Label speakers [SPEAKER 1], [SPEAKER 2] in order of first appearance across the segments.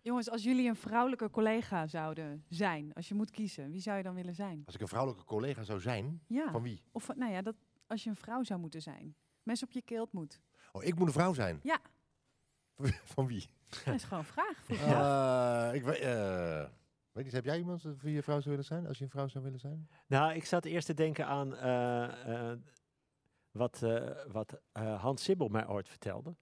[SPEAKER 1] Jongens, als jullie een vrouwelijke collega zouden zijn, als je moet kiezen, wie zou je dan willen zijn?
[SPEAKER 2] Als ik een vrouwelijke collega zou zijn,
[SPEAKER 1] Ja.
[SPEAKER 2] van wie?
[SPEAKER 1] Of van- nou ja, dat, als je een vrouw zou moeten zijn. Mes op je keelt moet.
[SPEAKER 2] Oh, ik moet een vrouw zijn.
[SPEAKER 1] Ja.
[SPEAKER 2] van wie?
[SPEAKER 1] Dat is gewoon een vraag. vroeg ik me af.
[SPEAKER 2] Eh, ik weet, eh, weet niet, heb jij iemand wie je vrouw zou willen zijn? Als je een vrouw zou willen zijn?
[SPEAKER 3] Nou, ik zat eerst te denken aan eh, eh, wat, eh, wat eh, Hans Sibbel mij ooit vertelde.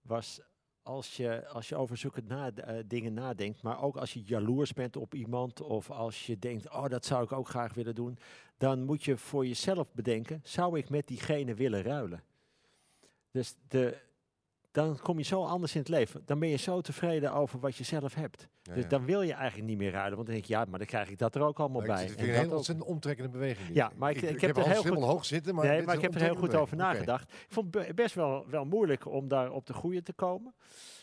[SPEAKER 3] Was als je, als je over zoekend na, eh, dingen nadenkt, maar ook als je jaloers bent op iemand of als je denkt, oh dat zou ik ook graag willen doen, dan moet je voor jezelf bedenken, zou ik met diegene willen ruilen? Dus de, dan kom je zo anders in het leven. Dan ben je zo tevreden over wat je zelf hebt.
[SPEAKER 2] Nou Ja,
[SPEAKER 3] dus
[SPEAKER 2] ja.
[SPEAKER 3] dan wil je eigenlijk niet meer ruilen, want dan denk je, ja, maar dan krijg ik dat er ook allemaal
[SPEAKER 2] Maar ik
[SPEAKER 3] bij.
[SPEAKER 2] vind het
[SPEAKER 3] En
[SPEAKER 2] een
[SPEAKER 3] dat
[SPEAKER 2] heel
[SPEAKER 3] ook.
[SPEAKER 2] ontzettend omtrekkende beweging. dit.
[SPEAKER 3] Ja, maar ik- ik heb er
[SPEAKER 2] Hans
[SPEAKER 3] heel
[SPEAKER 2] Simmel
[SPEAKER 3] goed-
[SPEAKER 2] hoog zitten. Maar
[SPEAKER 3] nee,
[SPEAKER 2] dit
[SPEAKER 3] maar ik
[SPEAKER 2] is
[SPEAKER 3] heb
[SPEAKER 2] een
[SPEAKER 3] er heel goed over
[SPEAKER 2] omtrekkende beweging.
[SPEAKER 3] nagedacht. Ik vond be- best wel, wel moeilijk om daar op de goede te komen.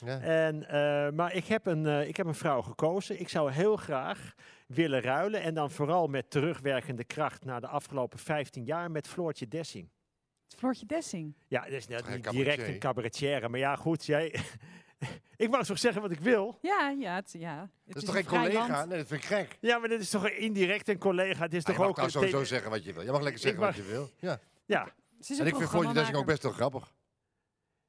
[SPEAKER 2] Oké. Ja.
[SPEAKER 3] En, eh, maar ik heb, een, eh, ik heb een vrouw gekozen. Ik zou heel graag willen ruilen. En dan vooral met terugwerkende kracht naar de afgelopen 15 jaar met Floortje Dessing.
[SPEAKER 1] Floortje Dessing.
[SPEAKER 3] Ja, dat is net
[SPEAKER 2] Geen
[SPEAKER 3] niet
[SPEAKER 2] cabaretier.
[SPEAKER 3] direct een cabaretière. Maar ja, goed, jij... ik mag toch zeggen wat ik wil?
[SPEAKER 1] Ja, ja, het, ja. Het
[SPEAKER 2] Dat is
[SPEAKER 1] is
[SPEAKER 2] toch
[SPEAKER 1] een
[SPEAKER 2] geen
[SPEAKER 1] vrij
[SPEAKER 2] collega?
[SPEAKER 1] land.
[SPEAKER 2] Nee, dat vind ik gek.
[SPEAKER 3] Ja, maar dit is toch indirect een collega. Dit is
[SPEAKER 2] Ah,
[SPEAKER 3] toch
[SPEAKER 2] je mag
[SPEAKER 3] ook...
[SPEAKER 2] trouwens
[SPEAKER 3] een
[SPEAKER 2] sowieso
[SPEAKER 3] teken-
[SPEAKER 2] zeggen wat je wil. Je mag lekker
[SPEAKER 3] Ik
[SPEAKER 2] zeggen
[SPEAKER 3] mag-
[SPEAKER 2] wat je wil. Ja.
[SPEAKER 3] Ja,
[SPEAKER 1] Ze is een
[SPEAKER 2] En ik vind Floortje Dessing ook
[SPEAKER 1] programmamaker.
[SPEAKER 2] best wel grappig.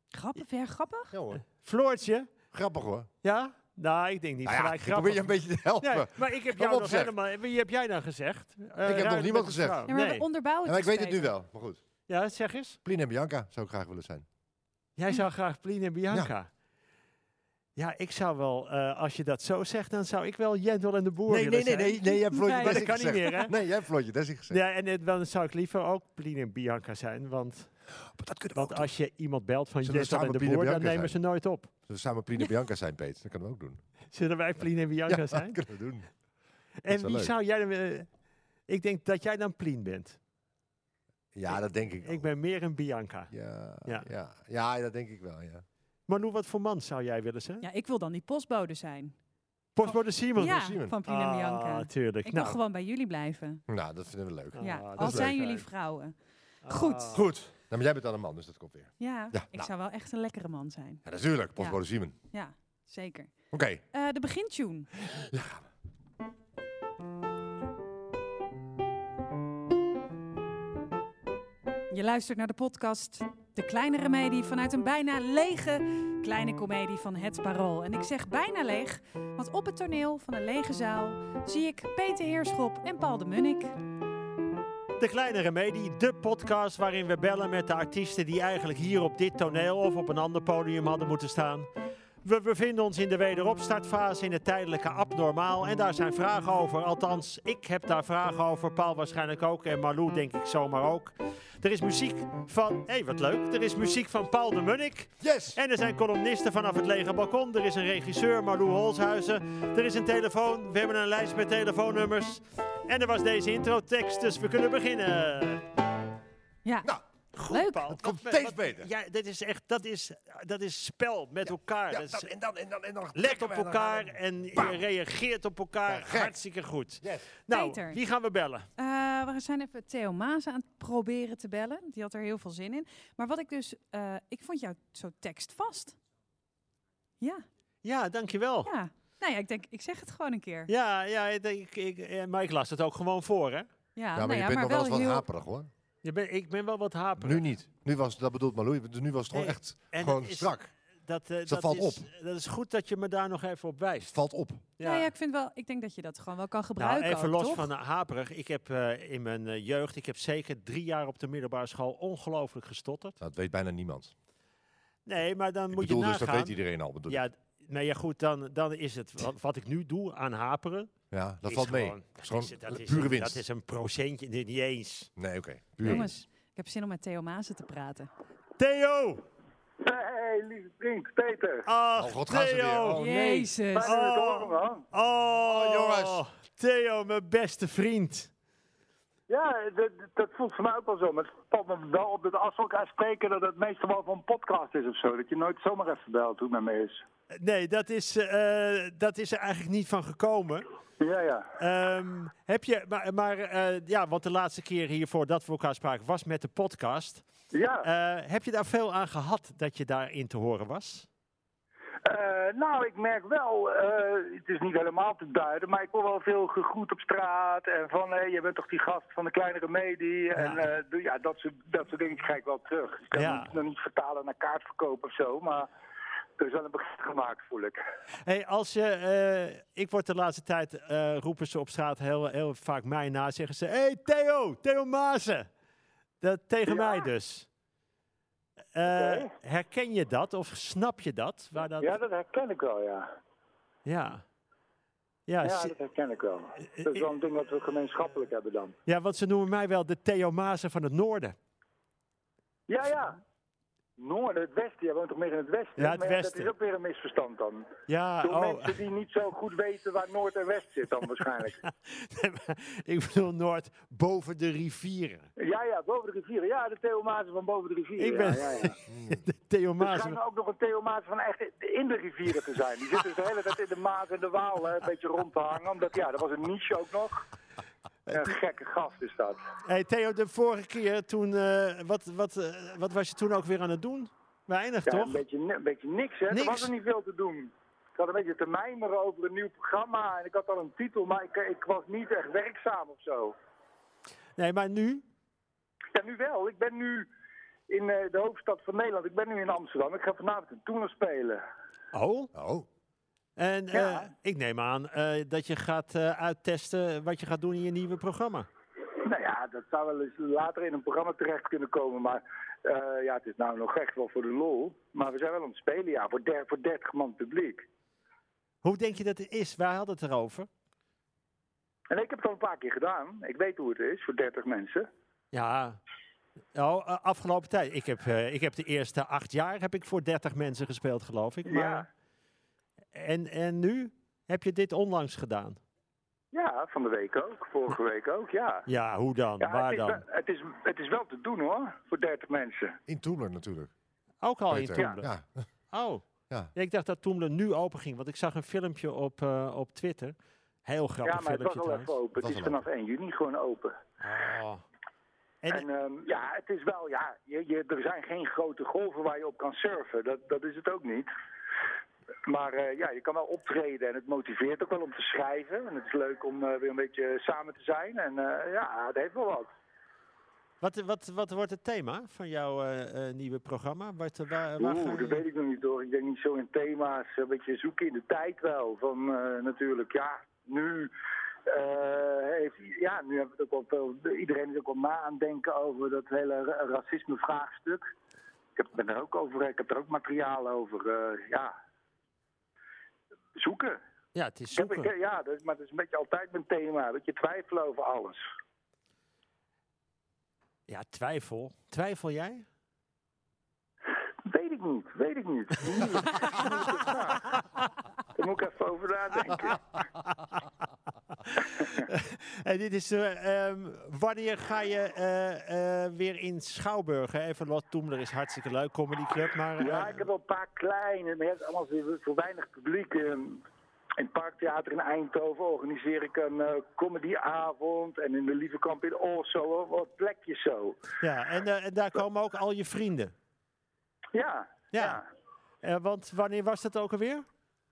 [SPEAKER 1] Grappig, ja, grappig.
[SPEAKER 2] Ja hoor.
[SPEAKER 3] Floortje.
[SPEAKER 2] Grappig hoor.
[SPEAKER 3] Ja? Nou, ik denk niet
[SPEAKER 2] Nou ja,
[SPEAKER 3] gelijk
[SPEAKER 2] ik probeer
[SPEAKER 3] grappig.
[SPEAKER 2] je een beetje te helpen.
[SPEAKER 3] Nee, maar ik heb
[SPEAKER 2] Kom
[SPEAKER 3] jou
[SPEAKER 2] op,
[SPEAKER 3] nog
[SPEAKER 2] zeg.
[SPEAKER 3] helemaal... Wie heb jij dan gezegd? Eh,
[SPEAKER 2] nog
[SPEAKER 3] ruilen
[SPEAKER 2] niemand
[SPEAKER 3] met een
[SPEAKER 2] gezegd.
[SPEAKER 3] vrouw.
[SPEAKER 1] Ja, maar
[SPEAKER 3] Nee.
[SPEAKER 1] we onderbouwen
[SPEAKER 2] Ja, maar ik
[SPEAKER 1] dus
[SPEAKER 2] weet het nu
[SPEAKER 1] beter.
[SPEAKER 2] wel. Maar goed.
[SPEAKER 3] Ja, zeg eens.
[SPEAKER 2] Plien en Bianca zou ik graag willen zijn.
[SPEAKER 3] Jij zou graag Plien en Bianca. Ja. ik zou wel, eh, als je dat zo zegt, dan zou ik wel Jendel en de Boer
[SPEAKER 2] Nee,
[SPEAKER 3] willen
[SPEAKER 2] nee, nee,
[SPEAKER 3] zijn.
[SPEAKER 2] nee, nee, jij hebt Floortje
[SPEAKER 1] Nee,
[SPEAKER 3] Maar dat
[SPEAKER 2] Dessing
[SPEAKER 3] kan niet
[SPEAKER 2] gezegd.
[SPEAKER 3] meer, hè?
[SPEAKER 2] Nee, jij hebt Floortje Dessing gezegd.
[SPEAKER 3] Ja, en het- dan zou ik liever ook Plien en Bianca zijn, want,
[SPEAKER 2] Maar dat kunnen we
[SPEAKER 3] want
[SPEAKER 2] ook doen.
[SPEAKER 3] als je iemand belt van
[SPEAKER 2] Zullen we
[SPEAKER 3] Jendel en
[SPEAKER 2] samen
[SPEAKER 3] de
[SPEAKER 2] Plien en
[SPEAKER 3] Boer, dan
[SPEAKER 2] Bianca
[SPEAKER 3] nemen ze
[SPEAKER 2] zijn?
[SPEAKER 3] nooit op.
[SPEAKER 2] Zullen we samen Plien en Bianca zijn, Peet? Dat kunnen we ook doen.
[SPEAKER 3] Zullen wij Plien en Bianca
[SPEAKER 2] ja,
[SPEAKER 3] zijn?
[SPEAKER 2] dat kunnen we doen.
[SPEAKER 3] En
[SPEAKER 2] wel
[SPEAKER 3] wie
[SPEAKER 2] leuk.
[SPEAKER 3] zou jij dan... eh, ik denk dat jij dan Plien bent.
[SPEAKER 2] Ja, dat denk ik wel.
[SPEAKER 3] Ik ben meer een Bianca.
[SPEAKER 2] Ja,
[SPEAKER 3] Ja.
[SPEAKER 2] ja. Ja, ja, dat denk ik wel, ja.
[SPEAKER 3] Manu, wat voor man zou jij willen zijn?
[SPEAKER 1] Ja, ik wil dan die postbode zijn.
[SPEAKER 3] Postbode Simon.
[SPEAKER 1] ja,
[SPEAKER 2] Simon.
[SPEAKER 1] van Pien en Bianca.
[SPEAKER 3] Ah, tuurlijk.
[SPEAKER 1] ik wil
[SPEAKER 3] nou,
[SPEAKER 1] gewoon bij jullie blijven.
[SPEAKER 2] Nou, dat vinden we leuk.
[SPEAKER 3] Ah,
[SPEAKER 1] ja,
[SPEAKER 3] dat
[SPEAKER 1] al
[SPEAKER 3] is
[SPEAKER 1] zijn
[SPEAKER 3] leuk
[SPEAKER 1] jullie
[SPEAKER 3] eigenlijk.
[SPEAKER 1] vrouwen. Goed.
[SPEAKER 3] Ah.
[SPEAKER 2] Goed. Nou, maar jij bent dan een man, dus dat komt weer.
[SPEAKER 1] Ja,
[SPEAKER 2] Ja,
[SPEAKER 1] ik
[SPEAKER 2] nou.
[SPEAKER 1] zou wel echt een lekkere man zijn.
[SPEAKER 2] Ja, natuurlijk. Postbode Simon.
[SPEAKER 1] Ja, zeker.
[SPEAKER 2] Oké.
[SPEAKER 1] Eh, de begintune. Je luistert naar de podcast De Kleine Remedie vanuit een bijna lege kleine komedie van Het Parool. En ik zeg bijna leeg, want op het toneel van een lege zaal zie ik Peter Heerschop en Paul de Munnik.
[SPEAKER 3] De Kleine Remedie, de podcast waarin we bellen met de artiesten die eigenlijk hier op dit toneel of op een ander podium hadden moeten staan. We bevinden ons in de wederopstartfase in het tijdelijke abnormaal en daar zijn vragen over. Althans, ik heb daar vragen over, Paul waarschijnlijk ook en Marlou denk ik zomaar ook. Er is muziek van, hé hey, wat leuk, er is muziek van Paul de Munnik.
[SPEAKER 2] Yes!
[SPEAKER 3] En er zijn columnisten vanaf het lege balkon. Er is een regisseur, Marlou Holshuizen. Er is een telefoon. We hebben een lijst met telefoonnummers. En er was deze introtekst, dus we kunnen beginnen.
[SPEAKER 1] Ja,
[SPEAKER 2] Nou,
[SPEAKER 3] Goed,
[SPEAKER 1] Leuk.
[SPEAKER 3] Paul.
[SPEAKER 2] Het komt
[SPEAKER 3] Wat-
[SPEAKER 2] steeds
[SPEAKER 3] wat-
[SPEAKER 2] beter.
[SPEAKER 3] Ja, dit is echt, dat is, dat is spel met elkaar.
[SPEAKER 2] ja, nou,
[SPEAKER 3] Dat is-
[SPEAKER 2] dat, en dan, en dan, en dan.
[SPEAKER 3] let op
[SPEAKER 2] en dan-
[SPEAKER 3] elkaar en je
[SPEAKER 2] Bam.
[SPEAKER 3] reageert op elkaar.
[SPEAKER 2] Ja, gek.
[SPEAKER 3] Hartstikke goed.
[SPEAKER 2] Yes.
[SPEAKER 3] Nou,
[SPEAKER 1] Peter.
[SPEAKER 3] wie gaan we bellen?
[SPEAKER 1] Eh, we zijn even Theo Maas aan het proberen te bellen. Die had er heel veel zin in. Maar wat ik dus... eh, ik vond jou zo tekstvast. Ja,
[SPEAKER 3] Ja, dankjewel. Ja,
[SPEAKER 1] ja. Nou ja, ik denk, ik zeg het gewoon een keer. Ja,
[SPEAKER 3] ja, ik, ik, eh, maar ik las het ook gewoon voor, hè?
[SPEAKER 2] Ja, maar
[SPEAKER 1] nou
[SPEAKER 2] je
[SPEAKER 1] ja,
[SPEAKER 2] bent
[SPEAKER 1] maar
[SPEAKER 2] nog wel
[SPEAKER 1] wel
[SPEAKER 2] eens wat
[SPEAKER 1] heel...
[SPEAKER 2] haperig, hoor.
[SPEAKER 3] Je ben, ik ben wel wat haperig.
[SPEAKER 2] Nu niet. Nu was, dat bedoelt Malou, dus nu was het gewoon
[SPEAKER 3] Nee,
[SPEAKER 2] echt
[SPEAKER 3] en
[SPEAKER 2] gewoon
[SPEAKER 3] dat is-
[SPEAKER 2] strak.
[SPEAKER 3] Dat, eh,
[SPEAKER 2] Dus dat
[SPEAKER 3] dat
[SPEAKER 2] valt
[SPEAKER 3] is,
[SPEAKER 2] op.
[SPEAKER 3] Dat is goed dat je me daar nog even op wijst.
[SPEAKER 2] Het valt op. Nou,
[SPEAKER 1] Ja, ja, ik vind wel... Ik denk dat je dat gewoon wel kan
[SPEAKER 3] nou,
[SPEAKER 1] gebruiken
[SPEAKER 3] even
[SPEAKER 1] ook,
[SPEAKER 3] los
[SPEAKER 1] toch?
[SPEAKER 3] van eh, haperig. Ik heb eh, in mijn eh, jeugd, ik heb zeker drie jaar op de middelbare school ongelooflijk gestotterd.
[SPEAKER 2] Nou, dat weet bijna niemand.
[SPEAKER 3] Nee, maar dan
[SPEAKER 2] Ik
[SPEAKER 3] moet
[SPEAKER 2] bedoel,
[SPEAKER 3] je
[SPEAKER 2] dus
[SPEAKER 3] nagaan.
[SPEAKER 2] dat weet iedereen al. Bedoel. ik.
[SPEAKER 3] ja, d- nou ja, goed, dan, dan is het wat, wat ik nu doe aan haperen.
[SPEAKER 2] Ja, dat
[SPEAKER 3] is
[SPEAKER 2] valt mee.
[SPEAKER 3] gewoon-
[SPEAKER 2] dat is gewoon
[SPEAKER 3] is- dat is-
[SPEAKER 2] pure winst.
[SPEAKER 3] Dat is een procentje, nee, niet eens.
[SPEAKER 2] Nee, oké. Pure winst.
[SPEAKER 1] Jongens, ik heb zin om met Theo Maas te praten.
[SPEAKER 3] Theo!
[SPEAKER 4] Hey, lieve vriend, Peter.
[SPEAKER 3] Ach,
[SPEAKER 2] Oh, god, gaan ze weer.
[SPEAKER 3] Theo!
[SPEAKER 2] Oh, nee.
[SPEAKER 1] Jezus.
[SPEAKER 4] Fijn om je te
[SPEAKER 3] Oh.
[SPEAKER 4] horen, man.
[SPEAKER 3] Oh,
[SPEAKER 2] jongens.
[SPEAKER 3] Theo, mijn beste vriend.
[SPEAKER 4] Ja, dat, dat voelt voor mij ook wel zo. Maar het valt me wel op dat als we elkaar spreken, dat het meestal wel van een podcast is of zo. Dat je nooit zomaar even belt hoe het met me is.
[SPEAKER 3] Nee, dat is, eh, dat is er eigenlijk niet van gekomen.
[SPEAKER 4] Ja, ja.
[SPEAKER 3] Ehm, heb je, maar, maar eh, ja, want de laatste keer hiervoor dat we elkaar spraken was met de podcast.
[SPEAKER 4] Ja,
[SPEAKER 3] Eh, heb je daar veel aan gehad dat je daarin te horen was?
[SPEAKER 4] Eh, nou, ik merk wel, eh, het is niet helemaal te duiden, maar ik word wel veel gegroet op straat. En van, hé, je bent toch die gast van de kleinere medie? En eh, d- ja, dat soort, dat soort dingen krijg ik wel terug. Ik kan
[SPEAKER 3] Ja.
[SPEAKER 4] het nog niet vertalen naar kaartverkoop of zo, maar er is wel een begin gemaakt, voel ik.
[SPEAKER 3] Hey, als je, eh, ik word de laatste tijd, eh, roepen ze op straat heel, heel vaak mij na, zeggen ze, hey Theo, Theo Maassen. Dat, tegen
[SPEAKER 4] Ja.
[SPEAKER 3] mij dus. Eh,
[SPEAKER 4] Oké.
[SPEAKER 3] Herken je dat of snap je dat? Waar dat
[SPEAKER 4] Ja, dat herken ik wel, ja.
[SPEAKER 3] ja. Ja,
[SPEAKER 4] Ja,
[SPEAKER 3] si-
[SPEAKER 4] dat herken ik wel.
[SPEAKER 3] Eh,
[SPEAKER 4] Dat is wel een ding wat we gemeenschappelijk hebben dan.
[SPEAKER 3] ja, want ze noemen mij wel de Theo Maassen van het noorden.
[SPEAKER 4] Ja, ja. Noorden, het westen. Jij woont toch meer in het westen?
[SPEAKER 3] Ja, het
[SPEAKER 4] Maar
[SPEAKER 3] westen.
[SPEAKER 4] Dat is ook weer een misverstand dan.
[SPEAKER 3] Ja,
[SPEAKER 4] Door
[SPEAKER 3] oh,
[SPEAKER 4] mensen die niet zo goed weten waar Noord en West zit dan waarschijnlijk.
[SPEAKER 3] nee, maar ik bedoel Noord, boven de rivieren.
[SPEAKER 4] ja, ja, boven de rivieren. Ja, de Theomazen van boven de rivieren.
[SPEAKER 3] Ik ben-
[SPEAKER 4] Ja, ja, ja.
[SPEAKER 3] De Theo
[SPEAKER 4] Er
[SPEAKER 3] Maassen.
[SPEAKER 4] schijnen ook Hmm. nog een Theomazen van echt in de rivieren te zijn. Die zitten dus de hele tijd in de Maas en de Waal hè, een beetje rond te hangen. Omdat, ja, er was een niche ook nog. Een gekke gast is dat.
[SPEAKER 3] Hey Theo, de vorige keer toen, eh, wat, wat, eh, wat was je toen ook weer aan het doen? Weinig
[SPEAKER 4] Ja,
[SPEAKER 3] toch?
[SPEAKER 4] een beetje, ni- een beetje niks, hè.
[SPEAKER 3] Niks.
[SPEAKER 4] Er was er niet veel te doen. Ik had een beetje te mijmeren over een nieuw programma en ik had al een titel, maar ik, ik was niet echt werkzaam of zo.
[SPEAKER 3] Nee, maar nu?
[SPEAKER 4] Ja, nu wel. Ik ben nu in eh, de hoofdstad van Nederland. Ik ben nu in Amsterdam. Ik ga vanavond een toernooi spelen.
[SPEAKER 3] Oh.
[SPEAKER 2] Oh,
[SPEAKER 3] En eh,
[SPEAKER 4] Ja.
[SPEAKER 3] ik neem aan eh, dat je gaat eh, uittesten wat je gaat doen in je nieuwe programma.
[SPEAKER 4] Nou ja, dat zou wel eens later in een programma terecht kunnen komen, maar eh, ja, het is nou nog echt wel voor de lol. Maar we zijn wel aan het spelen, ja, voor, der, voor 30 man publiek.
[SPEAKER 3] Hoe denk je dat het is? Waar had het erover?
[SPEAKER 4] En ik heb het al een paar keer gedaan. Ik weet hoe het is voor 30 mensen.
[SPEAKER 3] Ja, oh, eh, afgelopen tijd. Ik heb, eh, ik heb de eerste acht jaar heb ik voor 30 mensen gespeeld, geloof ik. Maar,
[SPEAKER 4] Ja.
[SPEAKER 3] en, en nu heb je dit onlangs gedaan.
[SPEAKER 4] Ja, van de week ook. Vorige week ook, ja.
[SPEAKER 3] Ja, hoe dan?
[SPEAKER 4] Ja, eh,
[SPEAKER 3] Waar
[SPEAKER 4] het, is,
[SPEAKER 3] dan?
[SPEAKER 4] wel- het, is, het is wel te doen hoor, voor 30 mensen.
[SPEAKER 2] in Toemler natuurlijk.
[SPEAKER 3] Ook al in
[SPEAKER 2] Peter.
[SPEAKER 3] Toemelen.
[SPEAKER 2] Ja,
[SPEAKER 3] Oh.
[SPEAKER 2] Ja.
[SPEAKER 3] Ja, ik dacht dat Toemelen nu open ging, want ik zag een filmpje op, eh, op Twitter. Heel grappig
[SPEAKER 4] ja, maar het was
[SPEAKER 3] filmpje
[SPEAKER 4] al even
[SPEAKER 3] trouwens.
[SPEAKER 4] open.
[SPEAKER 2] Was
[SPEAKER 4] Het is
[SPEAKER 2] al open.
[SPEAKER 4] vanaf 1 juni gewoon open.
[SPEAKER 3] Oh. En,
[SPEAKER 4] En ehm, ja, het is wel, ja, je, je, er zijn geen grote golven waar je op kan surfen. Dat, dat is het ook niet. Maar eh, ja, je kan wel optreden en het motiveert ook wel om te schrijven. En het is leuk om eh, weer een beetje samen te zijn. En eh, ja, het heeft wel wat.
[SPEAKER 3] wat, wat, wat wordt het thema van jouw eh, eh, nieuwe programma? Wat, eh, waar, waar ga
[SPEAKER 4] Oeh,
[SPEAKER 3] je-
[SPEAKER 4] dat weet ik nog niet hoor. Ik denk niet zo in thema's. eh, Een beetje zoeken in de tijd wel. Van eh, natuurlijk, ja, nu. eh, heeft, ja, nu hebben we het ook wel veel. Iedereen is ook wel na aan het denken over dat hele ra- racisme-vraagstuk. Ik heb, ben er ook over, ik heb er ook materiaal over. eh, ja. Zoeken.
[SPEAKER 3] Ja, het is
[SPEAKER 4] Ik heb-
[SPEAKER 3] zoeken.
[SPEAKER 4] ik- ja, dat, is- maar dat is een beetje altijd mijn thema. Dat je twijfelen over alles.
[SPEAKER 3] Ja, twijfel. Twijfel jij?
[SPEAKER 4] Weet ik niet, weet ik niet. Moeilijk. Moeilijke vraag. Daar moet ik even over nadenken.
[SPEAKER 3] en dit is, eh, ehm, wanneer ga je eh, eh, weer in Schouwburg? hè? Even los, Toemler is hartstikke leuk, comedy club, maar... eh,
[SPEAKER 4] Ja, ik heb wel een paar kleine, maar het is allemaal weer voor weinig publiek. Ehm, In het Parktheater in Eindhoven organiseer ik een eh, comedyavond. En in de Lievekamp in Orso, wel wat plekjes zo.
[SPEAKER 3] ja, en, eh, en daar komen ook al je vrienden.
[SPEAKER 4] Ja,
[SPEAKER 3] Ja.
[SPEAKER 4] ja.
[SPEAKER 3] Eh, want wanneer was dat ook alweer?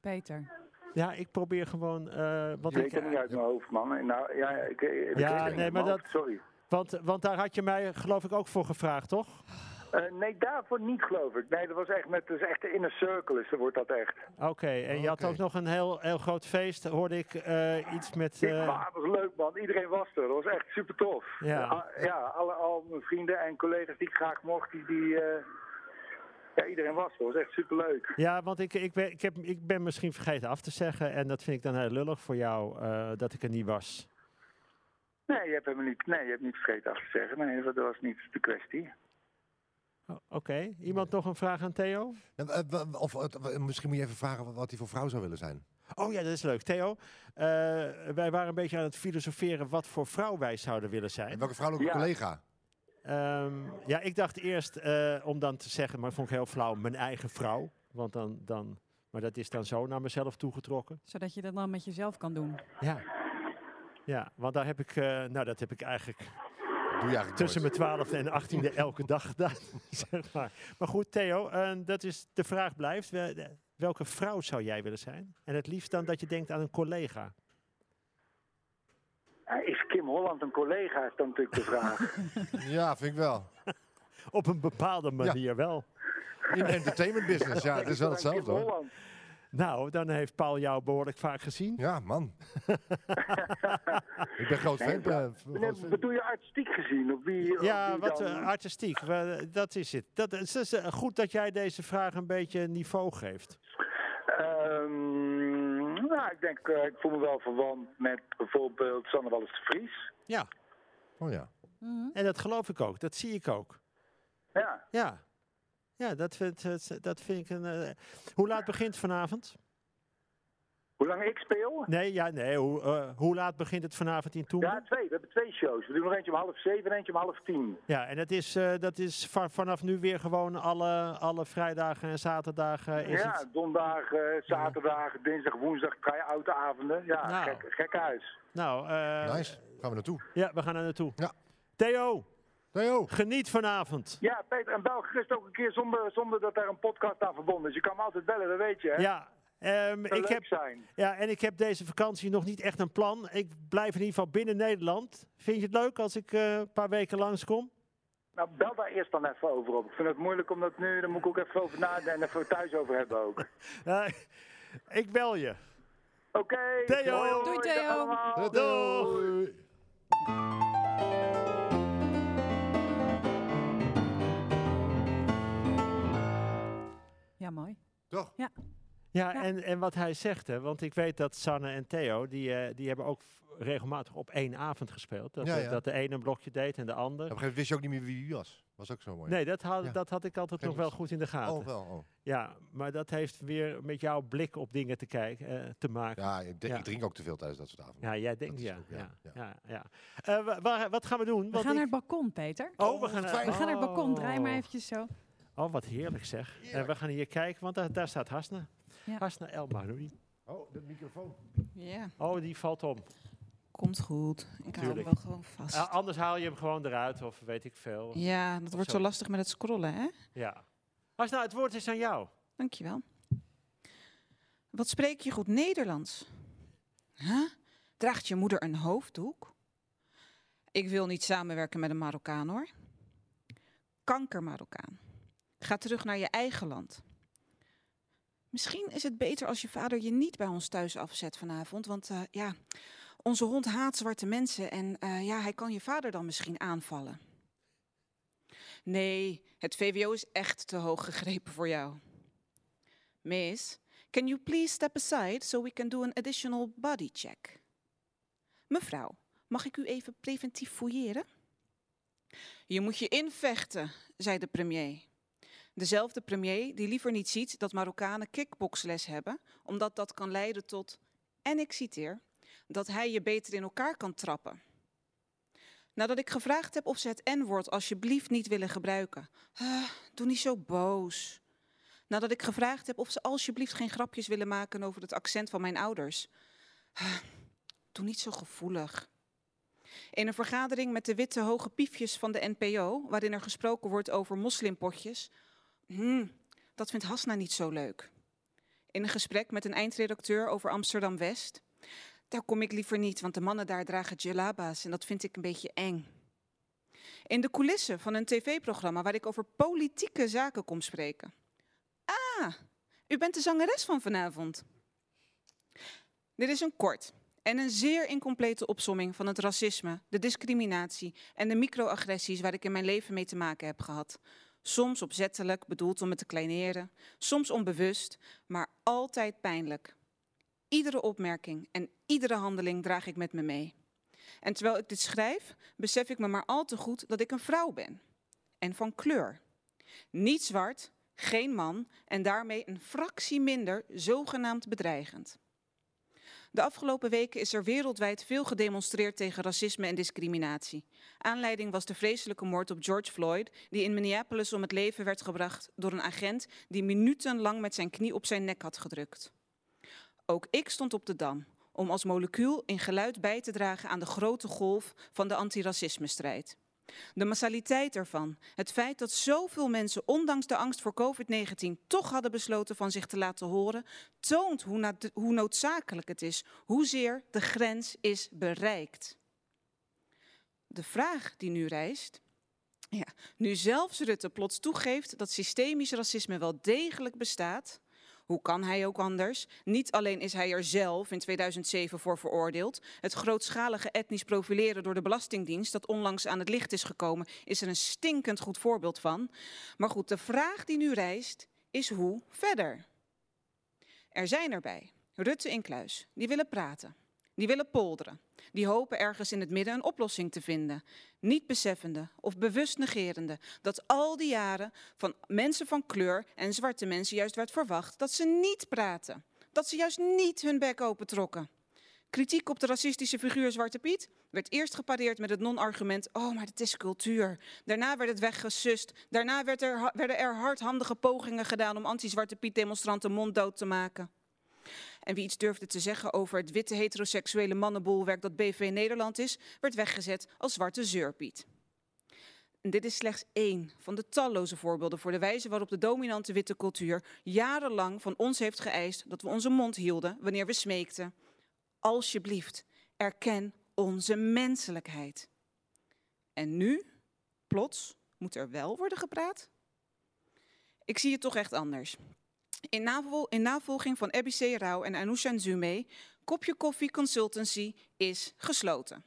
[SPEAKER 1] Peter.
[SPEAKER 3] Ja, ik probeer gewoon. eh, want,
[SPEAKER 4] Ik weet het
[SPEAKER 3] ik,
[SPEAKER 4] niet uit mijn hoofd, man. Nou, ja, ik, ik- ik
[SPEAKER 3] Ja,
[SPEAKER 4] weet het niet
[SPEAKER 3] nee,
[SPEAKER 4] uit
[SPEAKER 3] maar
[SPEAKER 4] mijn hoofd,
[SPEAKER 3] dat-
[SPEAKER 4] Sorry.
[SPEAKER 3] want, want daar had je mij, geloof ik, ook voor gevraagd, toch?
[SPEAKER 4] Eh, nee, daarvoor niet, geloof ik. Nee, dat was echt met, dat is echt de inner circle, is, dan wordt dat echt.
[SPEAKER 3] Oké, en je had
[SPEAKER 2] Oké.
[SPEAKER 3] ook nog een heel, heel groot feest, hoorde ik eh, iets met. eh,
[SPEAKER 4] Maar het was leuk, man. Iedereen was er. Dat was echt super tof. Ah,
[SPEAKER 3] Ja.
[SPEAKER 4] ja alle, al mijn vrienden en collega's die ik graag mocht, die... die eh, ja, iedereen was er. Dat was echt super leuk.
[SPEAKER 3] ja, want ik, ik, ben, ik, heb, ik ben misschien vergeten af te zeggen. En dat vind ik dan heel lullig voor jou eh, dat ik er niet was.
[SPEAKER 4] Nee, je hebt hem niet, nee, je hebt niet vergeten af te zeggen. Nee, dat was niet de kwestie.
[SPEAKER 3] O- Oké, iemand nog een vraag aan Theo?
[SPEAKER 2] Nou, eh, wa- wa- Of eh, misschien moet je even vragen wa- wat hij voor vrouw zou willen zijn.
[SPEAKER 3] Oh ja, dat is leuk. Theo, eh, wij waren een beetje aan het filosoferen wat voor vrouw wij zouden willen
[SPEAKER 2] En
[SPEAKER 3] zijn.
[SPEAKER 2] welke vrouwelijke
[SPEAKER 4] Ja.
[SPEAKER 2] collega?
[SPEAKER 3] Ehm, ja, ik dacht eerst eh, om dan te zeggen, maar vond ik heel flauw, mijn eigen vrouw. Want dan, dan, maar dat is dan zo naar mezelf toegetrokken.
[SPEAKER 1] Zodat je dat dan met jezelf kan doen.
[SPEAKER 3] Ja, ja want daar heb ik, eh, nou dat heb ik eigenlijk
[SPEAKER 2] Doe je eigenlijk
[SPEAKER 3] tussen
[SPEAKER 2] nooit.
[SPEAKER 3] mijn twaalfde en achttiende elke dag gedaan. zeg maar. maar goed, Theo, eh, dat is, de vraag blijft. We, Welke vrouw zou jij willen zijn? En het liefst dan dat je denkt aan een collega.
[SPEAKER 4] Eh, Is Kim Holland een collega, is dan natuurlijk de vraag.
[SPEAKER 2] Ja, vind ik wel.
[SPEAKER 3] Op een bepaalde manier wel.
[SPEAKER 2] In de entertainment business, ja, het is wel
[SPEAKER 4] Dan eh, Kim
[SPEAKER 2] hetzelfde hoor.
[SPEAKER 4] Holland.
[SPEAKER 3] Nou, dan heeft Paul jou behoorlijk vaak gezien.
[SPEAKER 2] Ja, man. ik ben groot fan.
[SPEAKER 4] Nee,
[SPEAKER 2] eh,
[SPEAKER 4] Nee,
[SPEAKER 2] groot fan.
[SPEAKER 4] bedoel je artistiek gezien? Op wie, op
[SPEAKER 3] Ja,
[SPEAKER 4] wie
[SPEAKER 3] wat
[SPEAKER 4] dan?
[SPEAKER 3] eh, artistiek. Wel, eh, dat is het. Dat is, is, eh, goed dat jij deze vraag een beetje een niveau geeft.
[SPEAKER 4] Ehm, nou, ik denk, eh, ik voel me wel verwant met bijvoorbeeld Sanne Wallis de Vries.
[SPEAKER 3] Ja,
[SPEAKER 2] Oh ja.
[SPEAKER 3] en dat geloof ik ook. Dat zie ik ook.
[SPEAKER 4] Ja,
[SPEAKER 3] Ja, ja dat, vind, dat- dat vind ik een... eh, hoe laat begint vanavond?
[SPEAKER 4] hoe lang ik speel?
[SPEAKER 3] Nee, ja, nee. Hoe, eh, hoe laat begint het vanavond in Toen?
[SPEAKER 4] Ja,
[SPEAKER 3] Ja,
[SPEAKER 4] twee. We hebben twee shows. We doen nog eentje om half zeven en eentje om half tien.
[SPEAKER 3] en dat is, eh, dat is va- vanaf nu weer gewoon alle, alle vrijdagen en zaterdagen. Is
[SPEAKER 4] ja,
[SPEAKER 3] het,
[SPEAKER 4] donderdag, eh, zaterdag, dinsdag, woensdag, try-out avonden. Ja,
[SPEAKER 3] Nou.
[SPEAKER 4] gek, gek huis.
[SPEAKER 3] nou, eh,
[SPEAKER 2] Nice. Gaan we naartoe.
[SPEAKER 3] ja, we gaan er naartoe.
[SPEAKER 2] Ja.
[SPEAKER 3] Theo,
[SPEAKER 2] Theo.
[SPEAKER 3] geniet vanavond.
[SPEAKER 4] Ja, Peter, en bel gerust ook een keer zonder, zonder dat daar een podcast aan verbonden is. Je kan me altijd bellen, dat weet je, hè?
[SPEAKER 3] Ja, ehm,
[SPEAKER 4] Zou
[SPEAKER 3] ik
[SPEAKER 4] leuk
[SPEAKER 3] heb,
[SPEAKER 4] zijn.
[SPEAKER 3] ja, en ik heb deze vakantie nog niet echt een plan. Ik blijf in ieder geval binnen Nederland. Vind je het leuk als ik eh, een paar weken langskom?
[SPEAKER 4] Nou, bel daar eerst dan even over op. Ik vind het moeilijk om dat nu, daar moet ik ook even over nadenken en even thuis over hebben ook.
[SPEAKER 3] Eh, ik bel je.
[SPEAKER 4] Oké.
[SPEAKER 3] Theo.
[SPEAKER 4] hoi,
[SPEAKER 1] Doei,
[SPEAKER 4] dag
[SPEAKER 1] Theo.
[SPEAKER 4] allemaal.
[SPEAKER 2] Doei.
[SPEAKER 1] Ja, mooi.
[SPEAKER 2] Toch?
[SPEAKER 3] Ja,
[SPEAKER 1] Ja.
[SPEAKER 3] En, en wat hij zegt, hè, want ik weet dat Sanne en Theo, die, eh, die hebben ook f- regelmatig op één avond gespeeld. Dat,
[SPEAKER 2] Ja,
[SPEAKER 3] de-
[SPEAKER 2] ja.
[SPEAKER 3] dat de ene een blokje deed en de
[SPEAKER 2] Op
[SPEAKER 3] ander.
[SPEAKER 2] een gegeven moment wist je ook niet meer wie hij was. Was ook zo mooi.
[SPEAKER 3] Nee, dat had,
[SPEAKER 2] Ja.
[SPEAKER 3] dat had ik altijd
[SPEAKER 2] Geen
[SPEAKER 3] nog wel
[SPEAKER 2] moeite.
[SPEAKER 3] goed in de gaten.
[SPEAKER 2] Oh, wel. Oh.
[SPEAKER 3] Ja, maar dat heeft weer met jouw blik op dingen te, kijken, eh, te maken. Ja.
[SPEAKER 2] Ja, ik, denk-
[SPEAKER 3] Ja.
[SPEAKER 2] ik drink ook te veel tijdens dat soort avonden.
[SPEAKER 3] jij
[SPEAKER 2] Dat
[SPEAKER 3] denkt
[SPEAKER 2] is
[SPEAKER 3] ja.
[SPEAKER 2] ook, ja,
[SPEAKER 3] ja, ja,
[SPEAKER 2] ja.
[SPEAKER 3] ja, Eh, wa- wa- wat gaan we doen?
[SPEAKER 1] We
[SPEAKER 3] Want
[SPEAKER 1] gaan naar
[SPEAKER 3] ik-
[SPEAKER 1] het balkon, Peter.
[SPEAKER 3] oh, we gaan,
[SPEAKER 2] We
[SPEAKER 1] We gaan naar het balkon. Draai maar
[SPEAKER 3] Oh.
[SPEAKER 1] eventjes zo.
[SPEAKER 3] Oh, wat heerlijk zeg. En
[SPEAKER 2] Heerlijk.
[SPEAKER 3] we gaan hier kijken, want daar, daar staat Hasna.
[SPEAKER 1] Ja.
[SPEAKER 3] Hasna El Maroui.
[SPEAKER 2] Oh, dat microfoon.
[SPEAKER 5] Ja,
[SPEAKER 3] Oh, die valt om.
[SPEAKER 5] komt goed. Ik hou
[SPEAKER 3] Tuurlijk.
[SPEAKER 5] hem wel gewoon vast.
[SPEAKER 3] Eh, anders haal je hem gewoon eruit of weet ik veel.
[SPEAKER 5] Ja, dat wordt
[SPEAKER 3] Zo.
[SPEAKER 5] zo lastig met het scrollen, hè?
[SPEAKER 3] Ja. Als nou het woord is aan jou.
[SPEAKER 5] Dankjewel. Wat spreek je goed Nederlands? Huh? Draagt je moeder een hoofddoek? Ik wil niet samenwerken met een Marokkaan hoor. Kanker Marokkaan. Ga terug naar je eigen land. Misschien is het beter als je vader je niet bij ons thuis afzet vanavond. Want eh, ja, onze hond haat zwarte mensen en eh, ja, hij kan je vader dan misschien aanvallen. Nee, het VWO is echt te hoog gegrepen voor jou. Miss, can you please step aside so we can do an additional body check? Mevrouw, mag ik u even preventief fouilleren? Je moet je invechten, zei de premier. Dezelfde premier die liever niet ziet dat Marokkanen kickboxles hebben, omdat dat kan leiden tot, en ik citeer, dat hij je beter in elkaar kan trappen. Nadat ik gevraagd heb of ze het N-woord alsjeblieft niet willen gebruiken. Ah, doe niet zo boos. Nadat ik gevraagd heb of ze alsjeblieft geen grapjes willen maken over het accent van mijn ouders. Doe niet zo gevoelig. In een vergadering met de witte hoge piefjes van de NPO, waarin er gesproken wordt over moslimpotjes. Hmm, dat vindt Hasna niet zo leuk. In een gesprek met een eindredacteur over Amsterdam West. Daar kom ik liever niet, want de mannen daar dragen djelaba's en dat vind ik een beetje eng. In de coulissen van een tv-programma waar ik over politieke zaken kom spreken. Ah, u bent de zangeres van vanavond. Dit is een kort en een zeer incomplete opsomming van het racisme, de discriminatie en de microagressies waar ik in mijn leven mee te maken heb gehad. Soms opzettelijk, bedoeld om me te kleineren, soms onbewust, maar altijd pijnlijk. Iedere opmerking en iedere handeling draag ik met me mee. En terwijl ik dit schrijf, besef ik me maar al te goed dat ik een vrouw ben. En van kleur. Niet zwart, geen man en daarmee een fractie minder zogenaamd bedreigend. De afgelopen weken is er wereldwijd veel gedemonstreerd tegen racisme en discriminatie. Aanleiding was de vreselijke moord op George Floyd, die in Minneapolis om het leven werd gebracht door een agent die minutenlang met zijn knie op zijn nek had gedrukt. Ook ik stond op de dam om als molecuul in geluid bij te dragen aan de grote golf van de antiracismestrijd. De massaliteit ervan, het feit dat zoveel mensen ondanks de angst voor COVID-19 toch hadden besloten van zich te laten horen, toont hoe, nat- hoe noodzakelijk het is, hoezeer de grens is bereikt. De vraag die nu rijst, ja, nu zelfs Rutte plots toegeeft dat systemisch racisme wel degelijk bestaat, hoe kan hij ook anders? Niet alleen is hij er zelf in 2007 voor veroordeeld. Het grootschalige etnisch profileren door de Belastingdienst, dat onlangs aan het licht is gekomen, is er een stinkend goed voorbeeld van. Maar goed, de vraag die nu rijst is hoe verder? Er zijn erbij, Rutte en Kluis, die willen praten. Die willen polderen. Die hopen ergens in het midden een oplossing te vinden. Niet beseffende of bewust negerende dat al die jaren van mensen van kleur en zwarte mensen juist werd verwacht dat ze niet praten. Dat ze juist niet hun bek opentrokken. Kritiek op de racistische figuur Zwarte Piet werd eerst gepareerd met het non-argument: oh, maar dat is cultuur. Daarna werd het weggesust. Daarna werd er ha- werden er hardhandige pogingen gedaan om anti-Zwarte Piet-demonstranten monddood te maken. En wie iets durfde te zeggen over het witte heteroseksuele mannenbolwerk dat BV Nederland is, werd weggezet als zwarte zeurpiet. En dit is slechts één van de talloze voorbeelden voor de wijze waarop de dominante witte cultuur jarenlang van ons heeft geëist dat we onze mond hielden wanneer we smeekten. Alsjeblieft, erken onze menselijkheid. En nu, plots, moet er wel worden gepraat? Ik zie het toch echt anders. In, navol- in navolging van Abby C. Rauw en Anousha Nzume, Kopje Koffie Consultancy is gesloten.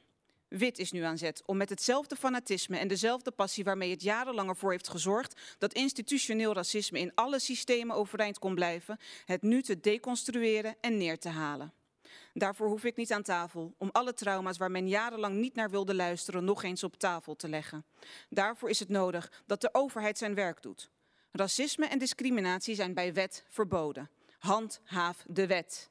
[SPEAKER 5] Wit is nu aan zet om met hetzelfde fanatisme en dezelfde passie waarmee het jarenlang ervoor heeft gezorgd dat institutioneel racisme in alle systemen overeind kon blijven, het nu te deconstrueren en neer te halen. Daarvoor hoef ik niet aan tafel om alle trauma's waar men jarenlang niet naar wilde luisteren nog eens op tafel te leggen. Daarvoor is het nodig dat de overheid zijn werk doet. Racisme en discriminatie zijn bij wet verboden. Handhaaf de wet.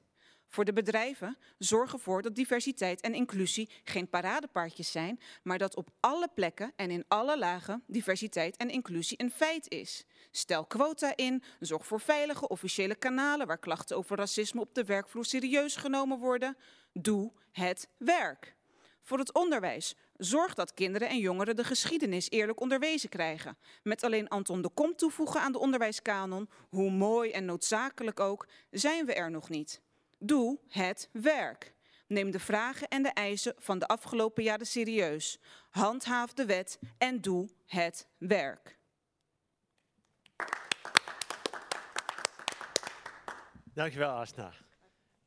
[SPEAKER 5] Voor de bedrijven zorg ervoor dat diversiteit en inclusie geen paradepaardjes zijn, maar dat op alle plekken en in alle lagen diversiteit en inclusie een feit is. Stel quota in, zorg voor veilige officiële kanalen waar klachten over racisme op de werkvloer serieus genomen worden. Doe het werk. Voor het onderwijs. Zorg dat kinderen en jongeren de geschiedenis eerlijk onderwezen krijgen. Met alleen Anton de Kom toevoegen aan de onderwijskanon, hoe mooi en noodzakelijk ook, zijn we er nog niet. Doe het werk. Neem de vragen en de eisen van de afgelopen jaren serieus. Handhaaf de wet en doe het werk.
[SPEAKER 3] Dankjewel, Asna.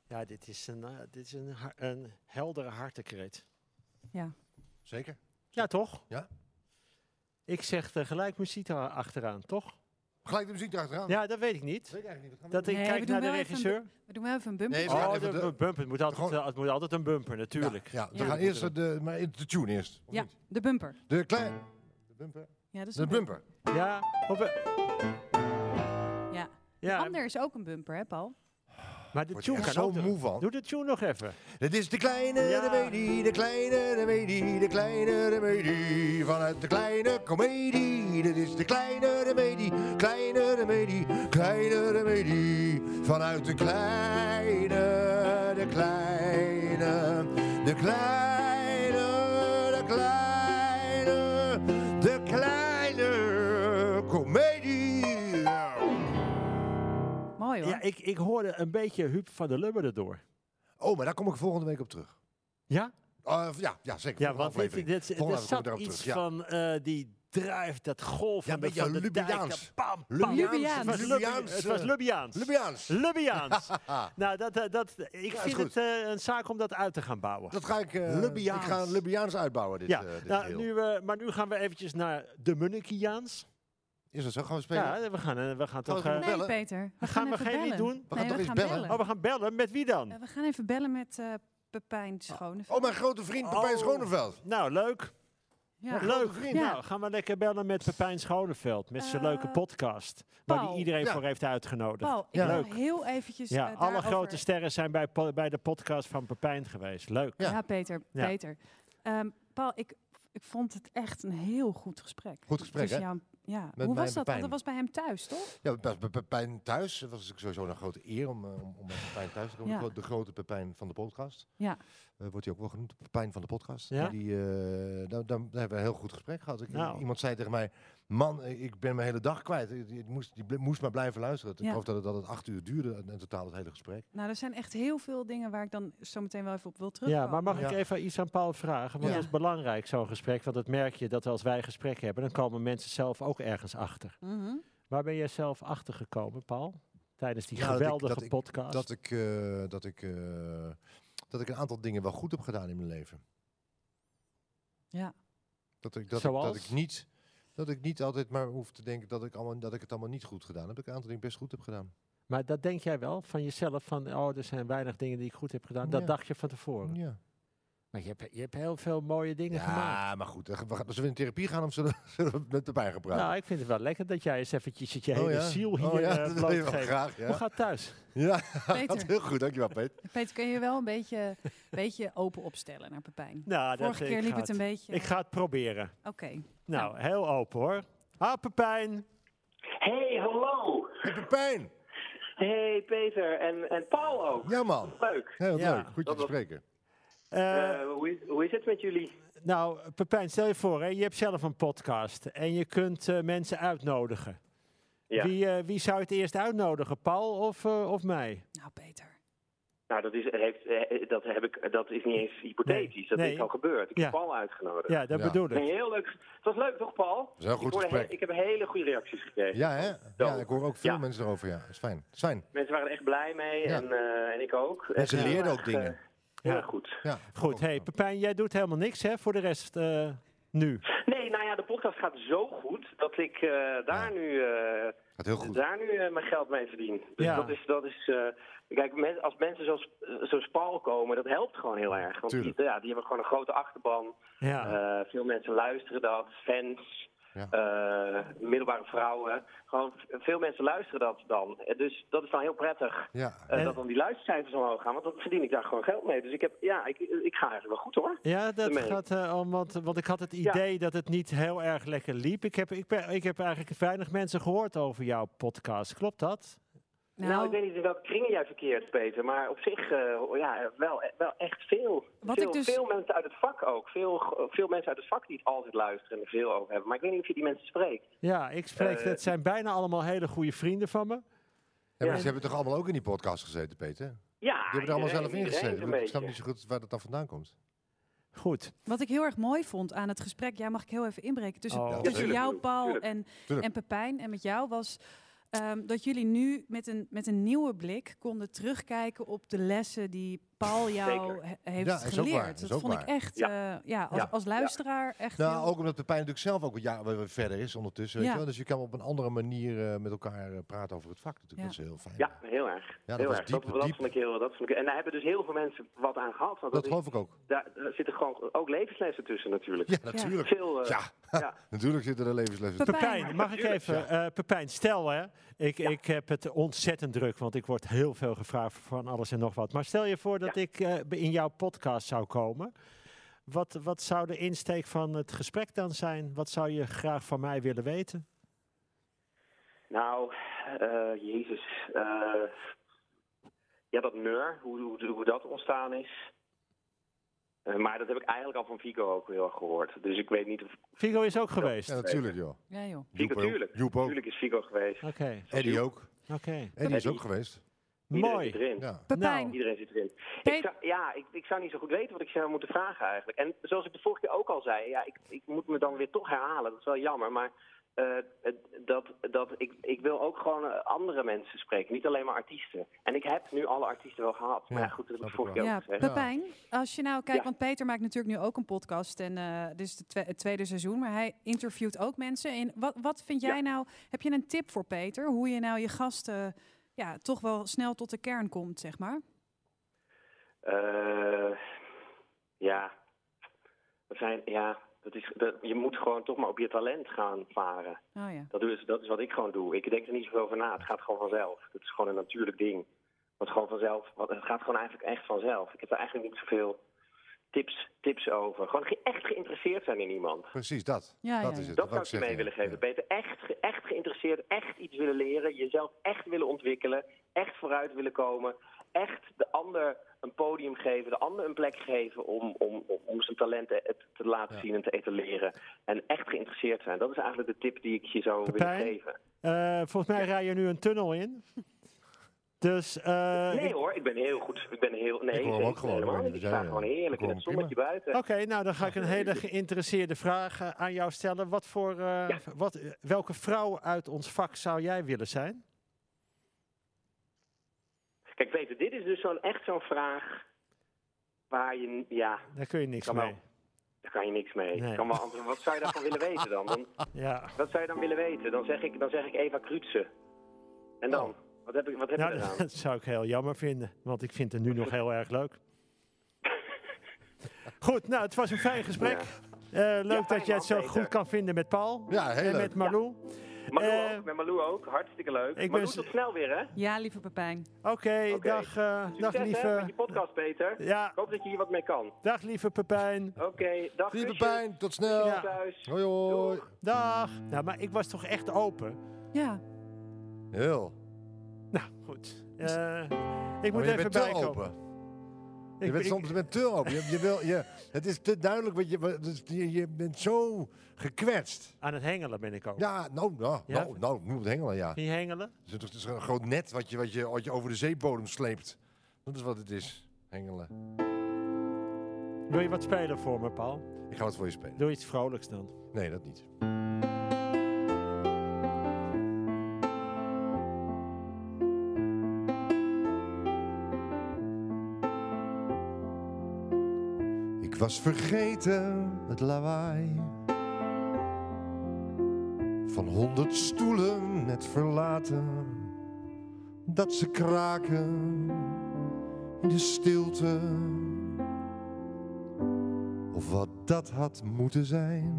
[SPEAKER 3] Ja, dit is een, eh, dit is een, ha- een heldere hartekreet.
[SPEAKER 1] Ja.
[SPEAKER 2] Zeker.
[SPEAKER 3] Ja, toch?
[SPEAKER 2] Ja.
[SPEAKER 3] Ik zeg er gelijk muziek a- achteraan, toch?
[SPEAKER 2] Gelijk de muziek erachteraan.
[SPEAKER 3] Ja, dat weet ik niet.
[SPEAKER 2] Dat weet ik eigenlijk niet. Wat gaan we
[SPEAKER 3] Dat ik
[SPEAKER 2] doen?
[SPEAKER 1] Nee, we
[SPEAKER 3] kijk
[SPEAKER 1] doen
[SPEAKER 3] naar de
[SPEAKER 1] wel even een
[SPEAKER 3] regisseur.
[SPEAKER 1] We doen wel even een bumper.
[SPEAKER 2] Nee, we gaan
[SPEAKER 3] Oh,
[SPEAKER 2] even
[SPEAKER 3] de,
[SPEAKER 2] de-
[SPEAKER 3] bumper. Het moet, altijd,
[SPEAKER 2] Gewoon-
[SPEAKER 3] eh, het moet altijd een bumper, natuurlijk.
[SPEAKER 2] Ja, ja, we
[SPEAKER 1] Ja.
[SPEAKER 2] gaan eerst eh, de, maar eerst de tune eerst. of
[SPEAKER 1] Ja,
[SPEAKER 2] niet?
[SPEAKER 1] de bumper.
[SPEAKER 2] De klein... De bumper.
[SPEAKER 1] Ja, dat is
[SPEAKER 2] De
[SPEAKER 1] een
[SPEAKER 2] bumper.
[SPEAKER 3] Ja, op een-
[SPEAKER 1] bumper. Ja.
[SPEAKER 3] ja
[SPEAKER 1] Ander is ook een bumper, hè Paul?
[SPEAKER 3] maar de
[SPEAKER 2] Word
[SPEAKER 3] tune
[SPEAKER 2] je
[SPEAKER 3] kan
[SPEAKER 2] zo
[SPEAKER 3] ook.
[SPEAKER 2] moe van.
[SPEAKER 3] Doe de tune nog even.
[SPEAKER 2] Dit is de kleine
[SPEAKER 3] Ja.
[SPEAKER 2] remedie, de kleine remedie, de kleine remedie. Vanuit de kleine komedie. Dit is de kleine remedie, kleine remedie, kleine remedie. Vanuit de kleine, de kleine, de kleine, de kleine, de kleine komedie.
[SPEAKER 1] Mooi hoor.
[SPEAKER 3] Ja, ik, ik hoorde een beetje Huub van der Lubber erdoor.
[SPEAKER 2] Oh, maar daar kom ik volgende week op terug.
[SPEAKER 3] Ja?
[SPEAKER 2] Eh, ja, ja, zeker.
[SPEAKER 3] Ja,
[SPEAKER 2] volgende
[SPEAKER 3] want dit,
[SPEAKER 2] aflevering.
[SPEAKER 3] dit,
[SPEAKER 2] Volgende aflevering kom
[SPEAKER 3] er
[SPEAKER 2] ik
[SPEAKER 3] zat
[SPEAKER 2] daarop
[SPEAKER 3] iets
[SPEAKER 2] terug, ja.
[SPEAKER 3] van eh, die druif, dat golf
[SPEAKER 2] Ja,
[SPEAKER 3] van, de,
[SPEAKER 2] beetje
[SPEAKER 3] van de dijk,
[SPEAKER 2] Lubiaans.
[SPEAKER 3] dat Pam, pam.
[SPEAKER 2] Lubiaans.
[SPEAKER 1] Lubiaans.
[SPEAKER 2] Het was Lubiaans. eh,
[SPEAKER 3] Het was Lubiaans.
[SPEAKER 2] Lubiaans.
[SPEAKER 3] Lubiaans. nou, dat, eh, dat, ik
[SPEAKER 2] is
[SPEAKER 3] vind
[SPEAKER 2] goed.
[SPEAKER 3] het eh, een zaak om dat uit te gaan bouwen.
[SPEAKER 2] Dat ga ik, eh,
[SPEAKER 3] Lubiaans.
[SPEAKER 2] ik ga een Lubiaans uitbouwen dit,
[SPEAKER 3] ja,
[SPEAKER 2] eh, dit
[SPEAKER 3] nou,
[SPEAKER 2] geheel.
[SPEAKER 3] nu, eh, maar nu gaan we eventjes naar de Munnikiaans.
[SPEAKER 2] Is dat zo? Gaan we spelen?
[SPEAKER 3] Ja, we gaan, eh, we gaan
[SPEAKER 2] Gaan we
[SPEAKER 3] toch... eh,
[SPEAKER 2] doen?
[SPEAKER 1] nee,
[SPEAKER 2] bellen?
[SPEAKER 1] Peter. We
[SPEAKER 3] gaan we
[SPEAKER 1] even
[SPEAKER 3] geen niet
[SPEAKER 1] bellen.
[SPEAKER 3] doen?
[SPEAKER 2] We gaan
[SPEAKER 1] Nee,
[SPEAKER 2] toch
[SPEAKER 1] we
[SPEAKER 2] eens
[SPEAKER 1] gaan
[SPEAKER 2] bellen?
[SPEAKER 1] bellen.
[SPEAKER 3] Oh, we gaan bellen. Met wie dan?
[SPEAKER 1] Eh, we gaan even bellen met eh Pepijn Schone.
[SPEAKER 2] Oh, mijn grote vriend Pepijn
[SPEAKER 3] Oh.
[SPEAKER 2] Schoneveld.
[SPEAKER 3] Nou, leuk.
[SPEAKER 1] ja.
[SPEAKER 3] Leuk.
[SPEAKER 2] vriend.
[SPEAKER 1] Ja.
[SPEAKER 3] Nou, gaan we lekker bellen met Pepijn Schoneveld. Met zijn
[SPEAKER 1] Eh,
[SPEAKER 3] leuke podcast. Waar
[SPEAKER 1] Paul.
[SPEAKER 3] die iedereen
[SPEAKER 2] Ja.
[SPEAKER 3] voor heeft uitgenodigd.
[SPEAKER 1] Paul, ik
[SPEAKER 2] Ja.
[SPEAKER 1] wil
[SPEAKER 3] Leuk.
[SPEAKER 1] heel eventjes
[SPEAKER 3] ja,
[SPEAKER 1] eh,
[SPEAKER 3] alle
[SPEAKER 1] daarover-
[SPEAKER 3] grote sterren zijn bij, po- bij de podcast van Pepijn geweest. Leuk.
[SPEAKER 1] Ja,
[SPEAKER 2] Ja.
[SPEAKER 1] Peter.
[SPEAKER 3] Ja.
[SPEAKER 1] Peter. Ehm, Paul, ik, ik vond het echt een heel goed gesprek.
[SPEAKER 2] Goed gesprek,
[SPEAKER 1] tussen
[SPEAKER 2] hè?
[SPEAKER 1] jou en Ja.
[SPEAKER 2] Met
[SPEAKER 1] Hoe
[SPEAKER 2] mij
[SPEAKER 1] was dat? Want
[SPEAKER 2] Pepijn.
[SPEAKER 1] dat was bij hem thuis, toch?
[SPEAKER 2] Ja, Pe- Pe- Pepijn thuis. Het was natuurlijk sowieso een grote eer om, eh, om, om bij Pepijn thuis te komen.
[SPEAKER 1] Ja.
[SPEAKER 2] De gro- De grote Pepijn van de podcast.
[SPEAKER 1] Ja.
[SPEAKER 2] Eh, wordt hij ook wel genoemd, Pepijn van de podcast.
[SPEAKER 3] Ja.
[SPEAKER 2] Die, eh, daar, daar hebben we een heel goed gesprek gehad. Ik,
[SPEAKER 3] Nou.
[SPEAKER 2] Iemand zei tegen mij, man, eh, ik ben mijn hele dag kwijt. Ik, ik moest, die bl- moest maar blijven luisteren.
[SPEAKER 1] Ja.
[SPEAKER 2] Ik geloof dat het, dat het acht uur duurde, in totaal het hele gesprek.
[SPEAKER 1] Nou, er zijn echt heel veel dingen waar ik dan zo meteen wel even op wil terugkomen.
[SPEAKER 3] Ja, maar mag ik
[SPEAKER 2] Ja.
[SPEAKER 3] even iets aan Paul vragen? Want
[SPEAKER 1] Ja.
[SPEAKER 3] dat is belangrijk, zo'n gesprek. Want dat merk je dat als wij gesprek hebben, dan komen mensen zelf ook ergens achter.
[SPEAKER 5] Mhm.
[SPEAKER 3] Waar ben jij zelf achter gekomen, Paul? Tijdens die
[SPEAKER 2] Ja, dat ik-
[SPEAKER 3] geweldige
[SPEAKER 2] dat ik-
[SPEAKER 3] podcast.
[SPEAKER 2] Dat ik, eh, dat, ik, eh, dat ik een aantal dingen wel goed heb gedaan in mijn leven.
[SPEAKER 1] Ja.
[SPEAKER 2] Dat ik, dat ik,
[SPEAKER 3] Zoals?
[SPEAKER 2] dat ik niet... Dat ik niet altijd maar hoef te denken dat ik, allemaal, dat ik het allemaal niet goed gedaan heb. Dat ik een aantal dingen best goed heb gedaan.
[SPEAKER 3] Maar dat denk jij wel van jezelf, van oh, er zijn weinig dingen die ik goed heb gedaan. Dat
[SPEAKER 2] Ja.
[SPEAKER 3] dacht je van tevoren.
[SPEAKER 2] Ja.
[SPEAKER 3] Maar je hebt, je hebt heel veel mooie dingen gemaakt.
[SPEAKER 2] Ja, maar goed. eh, We gaan, zullen we in therapie gaan of zullen, zullen we met erbij gaan praten?
[SPEAKER 3] Nou, ik vind het wel lekker dat jij eens eventjes je
[SPEAKER 2] Oh
[SPEAKER 3] hele
[SPEAKER 2] ja.
[SPEAKER 3] ziel hier
[SPEAKER 2] Oh ja,
[SPEAKER 3] eh,
[SPEAKER 2] dat wil je wel
[SPEAKER 3] blootgeeft.
[SPEAKER 2] graag.
[SPEAKER 3] Hoe
[SPEAKER 2] Ja,
[SPEAKER 3] gaat thuis?
[SPEAKER 2] ja dat
[SPEAKER 1] Peter,
[SPEAKER 2] heel goed. Dankjewel, Peet.
[SPEAKER 1] Peter, kun je wel een beetje, beetje open opstellen naar Pepijn?
[SPEAKER 3] Nou, dat,
[SPEAKER 1] Vorige
[SPEAKER 3] ik
[SPEAKER 1] keer liep
[SPEAKER 3] ga
[SPEAKER 1] het een beetje...
[SPEAKER 3] Ik ga het proberen.
[SPEAKER 1] Oké.
[SPEAKER 3] Nou, heel open hoor. Ah, Pepijn.
[SPEAKER 6] Hey, hallo.
[SPEAKER 2] Hey, Pepijn.
[SPEAKER 6] Hey, Peter en, en Paul ook.
[SPEAKER 2] Ja, man.
[SPEAKER 6] Leuk.
[SPEAKER 2] Heel
[SPEAKER 3] Ja.
[SPEAKER 2] leuk. Goed je te spreken.
[SPEAKER 3] Eh,
[SPEAKER 6] Eh, hoe, is, hoe is het met jullie?
[SPEAKER 3] nou, Pepijn, stel je voor, hè, je hebt zelf een podcast en je kunt eh, mensen uitnodigen.
[SPEAKER 6] Ja.
[SPEAKER 3] Wie, eh, wie zou je het eerst uitnodigen, Paul of, eh, of mij?
[SPEAKER 1] Nou, Peter.
[SPEAKER 6] Nou, dat is, heeft, eh, dat heb ik, dat is niet eens hypothetisch.
[SPEAKER 3] Nee,
[SPEAKER 6] dat
[SPEAKER 3] nee.
[SPEAKER 6] is al gebeurd. Ik
[SPEAKER 3] Ja.
[SPEAKER 6] heb Paul uitgenodigd.
[SPEAKER 3] Ja, dat
[SPEAKER 2] Ja.
[SPEAKER 3] bedoel ik.
[SPEAKER 6] Nee, heel leuk. Het was leuk, toch, Paul?
[SPEAKER 2] is een heel
[SPEAKER 6] ik,
[SPEAKER 2] goed
[SPEAKER 6] hoorde
[SPEAKER 2] gesprek.
[SPEAKER 6] he- ik heb hele goede reacties gekregen.
[SPEAKER 2] Ja, hè? Ja,
[SPEAKER 6] Zo.
[SPEAKER 2] ik hoor ook veel
[SPEAKER 6] Ja.
[SPEAKER 2] mensen erover. Ja, is fijn. Is fijn.
[SPEAKER 6] Mensen waren er echt blij mee
[SPEAKER 2] Ja.
[SPEAKER 6] en, eh, en ik ook.
[SPEAKER 2] En ze
[SPEAKER 6] Echt heel
[SPEAKER 2] leerden
[SPEAKER 6] erg,
[SPEAKER 2] ook dingen.
[SPEAKER 6] eh, Heel
[SPEAKER 3] Ja.
[SPEAKER 6] erg goed.
[SPEAKER 2] Ja,
[SPEAKER 3] Goed, hey, Pepijn, jij doet helemaal niks hè, voor de rest eh, nu.
[SPEAKER 6] Nee, nou ja, de podcast gaat zo goed dat ik eh, daar nu eh,
[SPEAKER 2] Gaat heel goed.
[SPEAKER 6] daar nu eh, mijn geld mee verdien. Dus
[SPEAKER 3] Ja.
[SPEAKER 6] dat is, dat is eh, kijk, men- als mensen zoals, eh, zoals Paul komen, dat helpt gewoon heel erg. Want die,
[SPEAKER 2] Tuurlijk.
[SPEAKER 6] ja, die hebben gewoon een grote achterban.
[SPEAKER 3] Ja.
[SPEAKER 6] Eh, veel mensen luisteren dat, fans,
[SPEAKER 2] Ja.
[SPEAKER 6] eh, middelbare vrouwen. Gewoon v- veel mensen luisteren dat dan. Eh, Dus dat is dan heel prettig.
[SPEAKER 2] Ja.
[SPEAKER 6] eh,
[SPEAKER 3] En-
[SPEAKER 6] dat dan die luistercijfers omhoog gaan, want dan verdien ik daar gewoon geld mee. Dus ik, heb, ja, ik, ik ga eigenlijk wel goed hoor.
[SPEAKER 3] Ja, dat
[SPEAKER 6] daarmee.
[SPEAKER 3] gaat eh, om, want, want ik had het idee dat het niet heel erg lekker liep. Ik heb, ik, ben, ik heb eigenlijk weinig mensen gehoord over jouw podcast. Klopt dat?
[SPEAKER 6] Nou, ik weet niet in welke kringen jij verkeert, Peter, maar op zich eh, ja, wel, wel echt veel.
[SPEAKER 1] Wat
[SPEAKER 6] veel,
[SPEAKER 1] ik dus-
[SPEAKER 6] veel mensen uit het vak ook. Veel, veel mensen uit het vak die het altijd luisteren en er veel over hebben. Maar ik weet niet of je die mensen spreekt.
[SPEAKER 3] Ja, ik spreek.
[SPEAKER 6] Eh,
[SPEAKER 3] het zijn bijna allemaal hele goede vrienden van me.
[SPEAKER 2] Ja, maar
[SPEAKER 6] Ja.
[SPEAKER 2] ze hebben toch allemaal ook in die podcast gezeten, Peter? Die
[SPEAKER 6] Ja,
[SPEAKER 2] hebben er allemaal
[SPEAKER 6] iedereen-
[SPEAKER 2] zelf in
[SPEAKER 6] iedereen
[SPEAKER 2] gezeten.
[SPEAKER 6] een
[SPEAKER 2] Ik snap niet
[SPEAKER 6] beetje.
[SPEAKER 2] zo goed waar dat dan vandaan komt.
[SPEAKER 3] Goed.
[SPEAKER 1] Wat ik heel erg mooi vond aan het gesprek, ja, mag ik heel even inbreken, tussen,
[SPEAKER 3] Oh. Ja,
[SPEAKER 1] tussen
[SPEAKER 6] tuurlijk,
[SPEAKER 1] jou,
[SPEAKER 6] tuurlijk,
[SPEAKER 1] Paul
[SPEAKER 6] tuurlijk.
[SPEAKER 1] en,
[SPEAKER 2] Tuurlijk.
[SPEAKER 1] en Pepijn en met jou, was ehm, dat jullie nu met een, met een nieuwe blik konden terugkijken op de lessen die Paul jou
[SPEAKER 6] Zeker.
[SPEAKER 1] he- heeft
[SPEAKER 2] Ja, is ook waar,
[SPEAKER 1] geleerd.
[SPEAKER 2] is
[SPEAKER 1] dat
[SPEAKER 2] ook
[SPEAKER 1] vond ik
[SPEAKER 2] waar.
[SPEAKER 1] echt, ja, ja, als,
[SPEAKER 6] Ja.
[SPEAKER 1] als luisteraar echt
[SPEAKER 2] Nou,
[SPEAKER 1] heel-
[SPEAKER 2] ook omdat Pepijn natuurlijk zelf ook een jaar weer verder is ondertussen. Weet
[SPEAKER 1] Ja.
[SPEAKER 2] je wel? Dus je kan op een andere manier eh, met elkaar eh, praten over het vak. Natuurlijk.
[SPEAKER 1] Ja.
[SPEAKER 2] Dat is heel fijn.
[SPEAKER 6] Ja, heel erg.
[SPEAKER 2] dat
[SPEAKER 6] heel
[SPEAKER 2] was
[SPEAKER 6] erg.
[SPEAKER 2] diep,
[SPEAKER 6] dat, dat
[SPEAKER 2] diep.
[SPEAKER 6] vond ik heel dat vond ik, En daar hebben dus heel veel mensen wat aan gehad. Want dat
[SPEAKER 2] Dat
[SPEAKER 6] is-
[SPEAKER 2] geloof ik ook.
[SPEAKER 6] daar, daar zitten gewoon ook levenslessen tussen natuurlijk.
[SPEAKER 2] Ja, natuurlijk.
[SPEAKER 6] Veel, eh,
[SPEAKER 2] Ja,
[SPEAKER 6] ja.
[SPEAKER 2] natuurlijk zitten er levenslessen
[SPEAKER 1] Pepijn.
[SPEAKER 3] Pepijn, mag ik even? eh, Pepijn, stel hè, ik, ik heb het ontzettend druk, want ik word heel veel gevraagd van alles en nog wat. Maar stel je voor dat ik eh, in jouw podcast zou komen. Wat, wat zou de insteek van het gesprek dan zijn? Wat zou je graag van mij willen weten?
[SPEAKER 6] Nou, eh, jezus. eh, ja, dat neur, hoe, hoe, hoe dat ontstaan is. Eh, maar dat heb ik eigenlijk al van Vico ook heel erg gehoord. Dus ik weet niet of...
[SPEAKER 3] Vigo is ook geweest.
[SPEAKER 2] Ja, natuurlijk joh.
[SPEAKER 1] Ja, joh.
[SPEAKER 6] Vico,
[SPEAKER 2] ook.
[SPEAKER 6] tuurlijk.
[SPEAKER 2] Joep ook.
[SPEAKER 6] Tuurlijk is Vico geweest.
[SPEAKER 3] Oké,
[SPEAKER 2] Eddie ook.
[SPEAKER 3] oké.
[SPEAKER 2] Eddie is
[SPEAKER 6] Eddie.
[SPEAKER 2] ook geweest.
[SPEAKER 6] Iedereen
[SPEAKER 3] Mooi.
[SPEAKER 6] zit erin.
[SPEAKER 2] Ja.
[SPEAKER 1] Pepijn,
[SPEAKER 3] Nou,
[SPEAKER 6] Iedereen zit erin.
[SPEAKER 1] Pe-
[SPEAKER 6] Ik zou, ja, ik, ik zou niet zo goed weten wat ik zou moeten vragen eigenlijk. En zoals ik de vorige keer ook al zei, ja, ik, ik moet me dan weer toch herhalen. Dat is wel jammer, maar eh, het- dat, dat, ik, ik wil ook gewoon eh, andere mensen spreken, niet alleen maar artiesten. En ik heb nu alle artiesten wel gehad. Maar
[SPEAKER 2] Ja,
[SPEAKER 6] ja, goed, dat
[SPEAKER 2] snap
[SPEAKER 6] heb ik
[SPEAKER 2] ik
[SPEAKER 6] vorige keer
[SPEAKER 2] wel.
[SPEAKER 6] ook
[SPEAKER 1] Ja,
[SPEAKER 6] gezegd.
[SPEAKER 1] Pepijn, als je nou kijkt,
[SPEAKER 6] Ja.
[SPEAKER 1] want Peter maakt natuurlijk nu ook een podcast en eh, dit is de twe- het tweede seizoen, maar hij interviewt ook mensen. En wat, wat vind jij
[SPEAKER 6] Ja.
[SPEAKER 1] nou, heb je een tip voor Peter, hoe je nou je gasten ja, toch wel snel tot de kern komt, zeg maar?
[SPEAKER 6] Eh, ja. Dat zijn, ja, dat is, dat- je moet gewoon toch maar op je talent gaan varen.
[SPEAKER 1] Oh ja,
[SPEAKER 6] Dat is, dat is wat ik gewoon doe. Ik denk er niet zoveel over na. Het gaat gewoon vanzelf. Het is gewoon een natuurlijk ding. Wat gewoon vanzelf, wat, het gaat gewoon eigenlijk echt vanzelf. Ik heb er eigenlijk niet zoveel tips, tips over. Gewoon ge- echt geïnteresseerd zijn in iemand.
[SPEAKER 2] Precies, dat.
[SPEAKER 1] Ja,
[SPEAKER 2] dat
[SPEAKER 1] ja,
[SPEAKER 2] is
[SPEAKER 1] ja.
[SPEAKER 2] het.
[SPEAKER 6] Dat
[SPEAKER 2] wou
[SPEAKER 6] zou ik je mee
[SPEAKER 2] zeggen,
[SPEAKER 6] willen
[SPEAKER 2] ja.
[SPEAKER 6] geven, Peter. Echt, ge- echt geïnteresseerd, echt iets willen leren, jezelf echt willen ontwikkelen, echt vooruit willen komen, echt de ander een podium geven, de ander een plek geven om, om, om, om zijn talenten het te laten
[SPEAKER 2] Ja.
[SPEAKER 6] zien en te etaleren. En echt geïnteresseerd zijn. Dat is eigenlijk de tip die ik je zou willen
[SPEAKER 3] Pepijn?
[SPEAKER 6] geven.
[SPEAKER 3] Eh, volgens mij rij je nu een tunnel in. Dus eh,
[SPEAKER 6] Nee
[SPEAKER 3] ik-
[SPEAKER 6] hoor, ik ben heel goed. Ik ben heel. Nee,
[SPEAKER 2] Ik hoor hem
[SPEAKER 6] zeker
[SPEAKER 2] ook gewoon,
[SPEAKER 6] helemaal
[SPEAKER 2] hoor.
[SPEAKER 6] niet.
[SPEAKER 2] We
[SPEAKER 6] Ik
[SPEAKER 2] zijn
[SPEAKER 6] sta
[SPEAKER 2] er.
[SPEAKER 6] gewoon heerlijk
[SPEAKER 2] Ik
[SPEAKER 6] in
[SPEAKER 2] hoor
[SPEAKER 6] het
[SPEAKER 2] hem
[SPEAKER 6] zonnetje buiten.
[SPEAKER 3] Oké, nou dan ga ik een hele geïnteresseerde vraag eh, aan jou stellen. Wat voor, eh,
[SPEAKER 6] Ja.
[SPEAKER 3] wat, eh, welke vrouw uit ons vak zou jij willen zijn?
[SPEAKER 6] Kijk, Peter, dit is dus zo'n, echt zo'n vraag waar je. Ja,
[SPEAKER 3] Daar kun je niks
[SPEAKER 6] Kan
[SPEAKER 3] mee.
[SPEAKER 6] wel. daar kan je niks mee.
[SPEAKER 3] Nee.
[SPEAKER 6] Kan wel antwoorden. Wat zou je daarvan willen weten dan? dan?
[SPEAKER 3] Ja.
[SPEAKER 6] Wat zou je dan willen weten? Dan zeg ik, dan zeg ik Eva Krutse. En dan?
[SPEAKER 2] Oh.
[SPEAKER 6] Wat heb, ik, wat heb je
[SPEAKER 3] Nou,
[SPEAKER 6] eraan?
[SPEAKER 3] dat zou ik heel jammer vinden, want ik vind het nu nog heel erg leuk. Goed, nou, het was een fijn gesprek. Eh, leuk
[SPEAKER 6] fijn
[SPEAKER 3] dat jij het zo
[SPEAKER 6] man,
[SPEAKER 3] goed
[SPEAKER 6] Peter.
[SPEAKER 3] kan vinden met Paul
[SPEAKER 2] Ja, heel
[SPEAKER 3] en
[SPEAKER 2] leuk.
[SPEAKER 3] met Marlou.
[SPEAKER 6] Malou
[SPEAKER 3] Eh,
[SPEAKER 6] ook, met Malou ook. Hartstikke leuk.
[SPEAKER 3] ik
[SPEAKER 6] Malou,
[SPEAKER 3] ben-
[SPEAKER 6] tot snel weer, hè?
[SPEAKER 1] Ja, lieve Pepijn.
[SPEAKER 3] Oké,
[SPEAKER 6] Oké.
[SPEAKER 3] dag, eh, dag,
[SPEAKER 6] Succes, hè, met
[SPEAKER 3] lieve,
[SPEAKER 6] je podcast, Peter.
[SPEAKER 3] ja,
[SPEAKER 6] Ik hoop dat je hier wat mee kan.
[SPEAKER 3] dag lieve Pepijn.
[SPEAKER 6] Oké, dag.
[SPEAKER 2] Lieve
[SPEAKER 6] kusjes.
[SPEAKER 2] pijn, tot snel.
[SPEAKER 3] Ja.
[SPEAKER 6] Thuis.
[SPEAKER 2] Hoi hoi.
[SPEAKER 6] Doeg.
[SPEAKER 3] Dag. Nou, maar ik was toch echt open?
[SPEAKER 1] Ja,
[SPEAKER 2] Heel.
[SPEAKER 3] Nou, goed. Eh, ik moet
[SPEAKER 2] Maar je
[SPEAKER 3] even
[SPEAKER 2] bent te
[SPEAKER 3] bijkomen.
[SPEAKER 2] open.
[SPEAKER 3] Ik-
[SPEAKER 2] Je bent
[SPEAKER 3] ik-
[SPEAKER 2] soms je bent te open. Je, je wil, je, het is te duidelijk, want je, wat- dus je, je bent zo gekwetst.
[SPEAKER 3] Aan het hengelen ben ik ook.
[SPEAKER 2] Ja, nou, nou,
[SPEAKER 3] Ja?
[SPEAKER 2] nou, nou, noem het hengelen, ja.
[SPEAKER 3] Niet hengelen?
[SPEAKER 2] Het is, toch- het is een groot net wat je, wat, je, wat je over de zeebodem sleept. Dat is wat het is, hengelen.
[SPEAKER 3] Wil je wat spelen voor me, Paul?
[SPEAKER 2] Ik ga wat voor je spelen.
[SPEAKER 3] Doe iets vrolijks dan.
[SPEAKER 2] Nee, dat niet. Ik was vergeten het lawaai van honderd stoelen net verlaten, dat ze kraken in de stilte. Of wat dat had moeten zijn.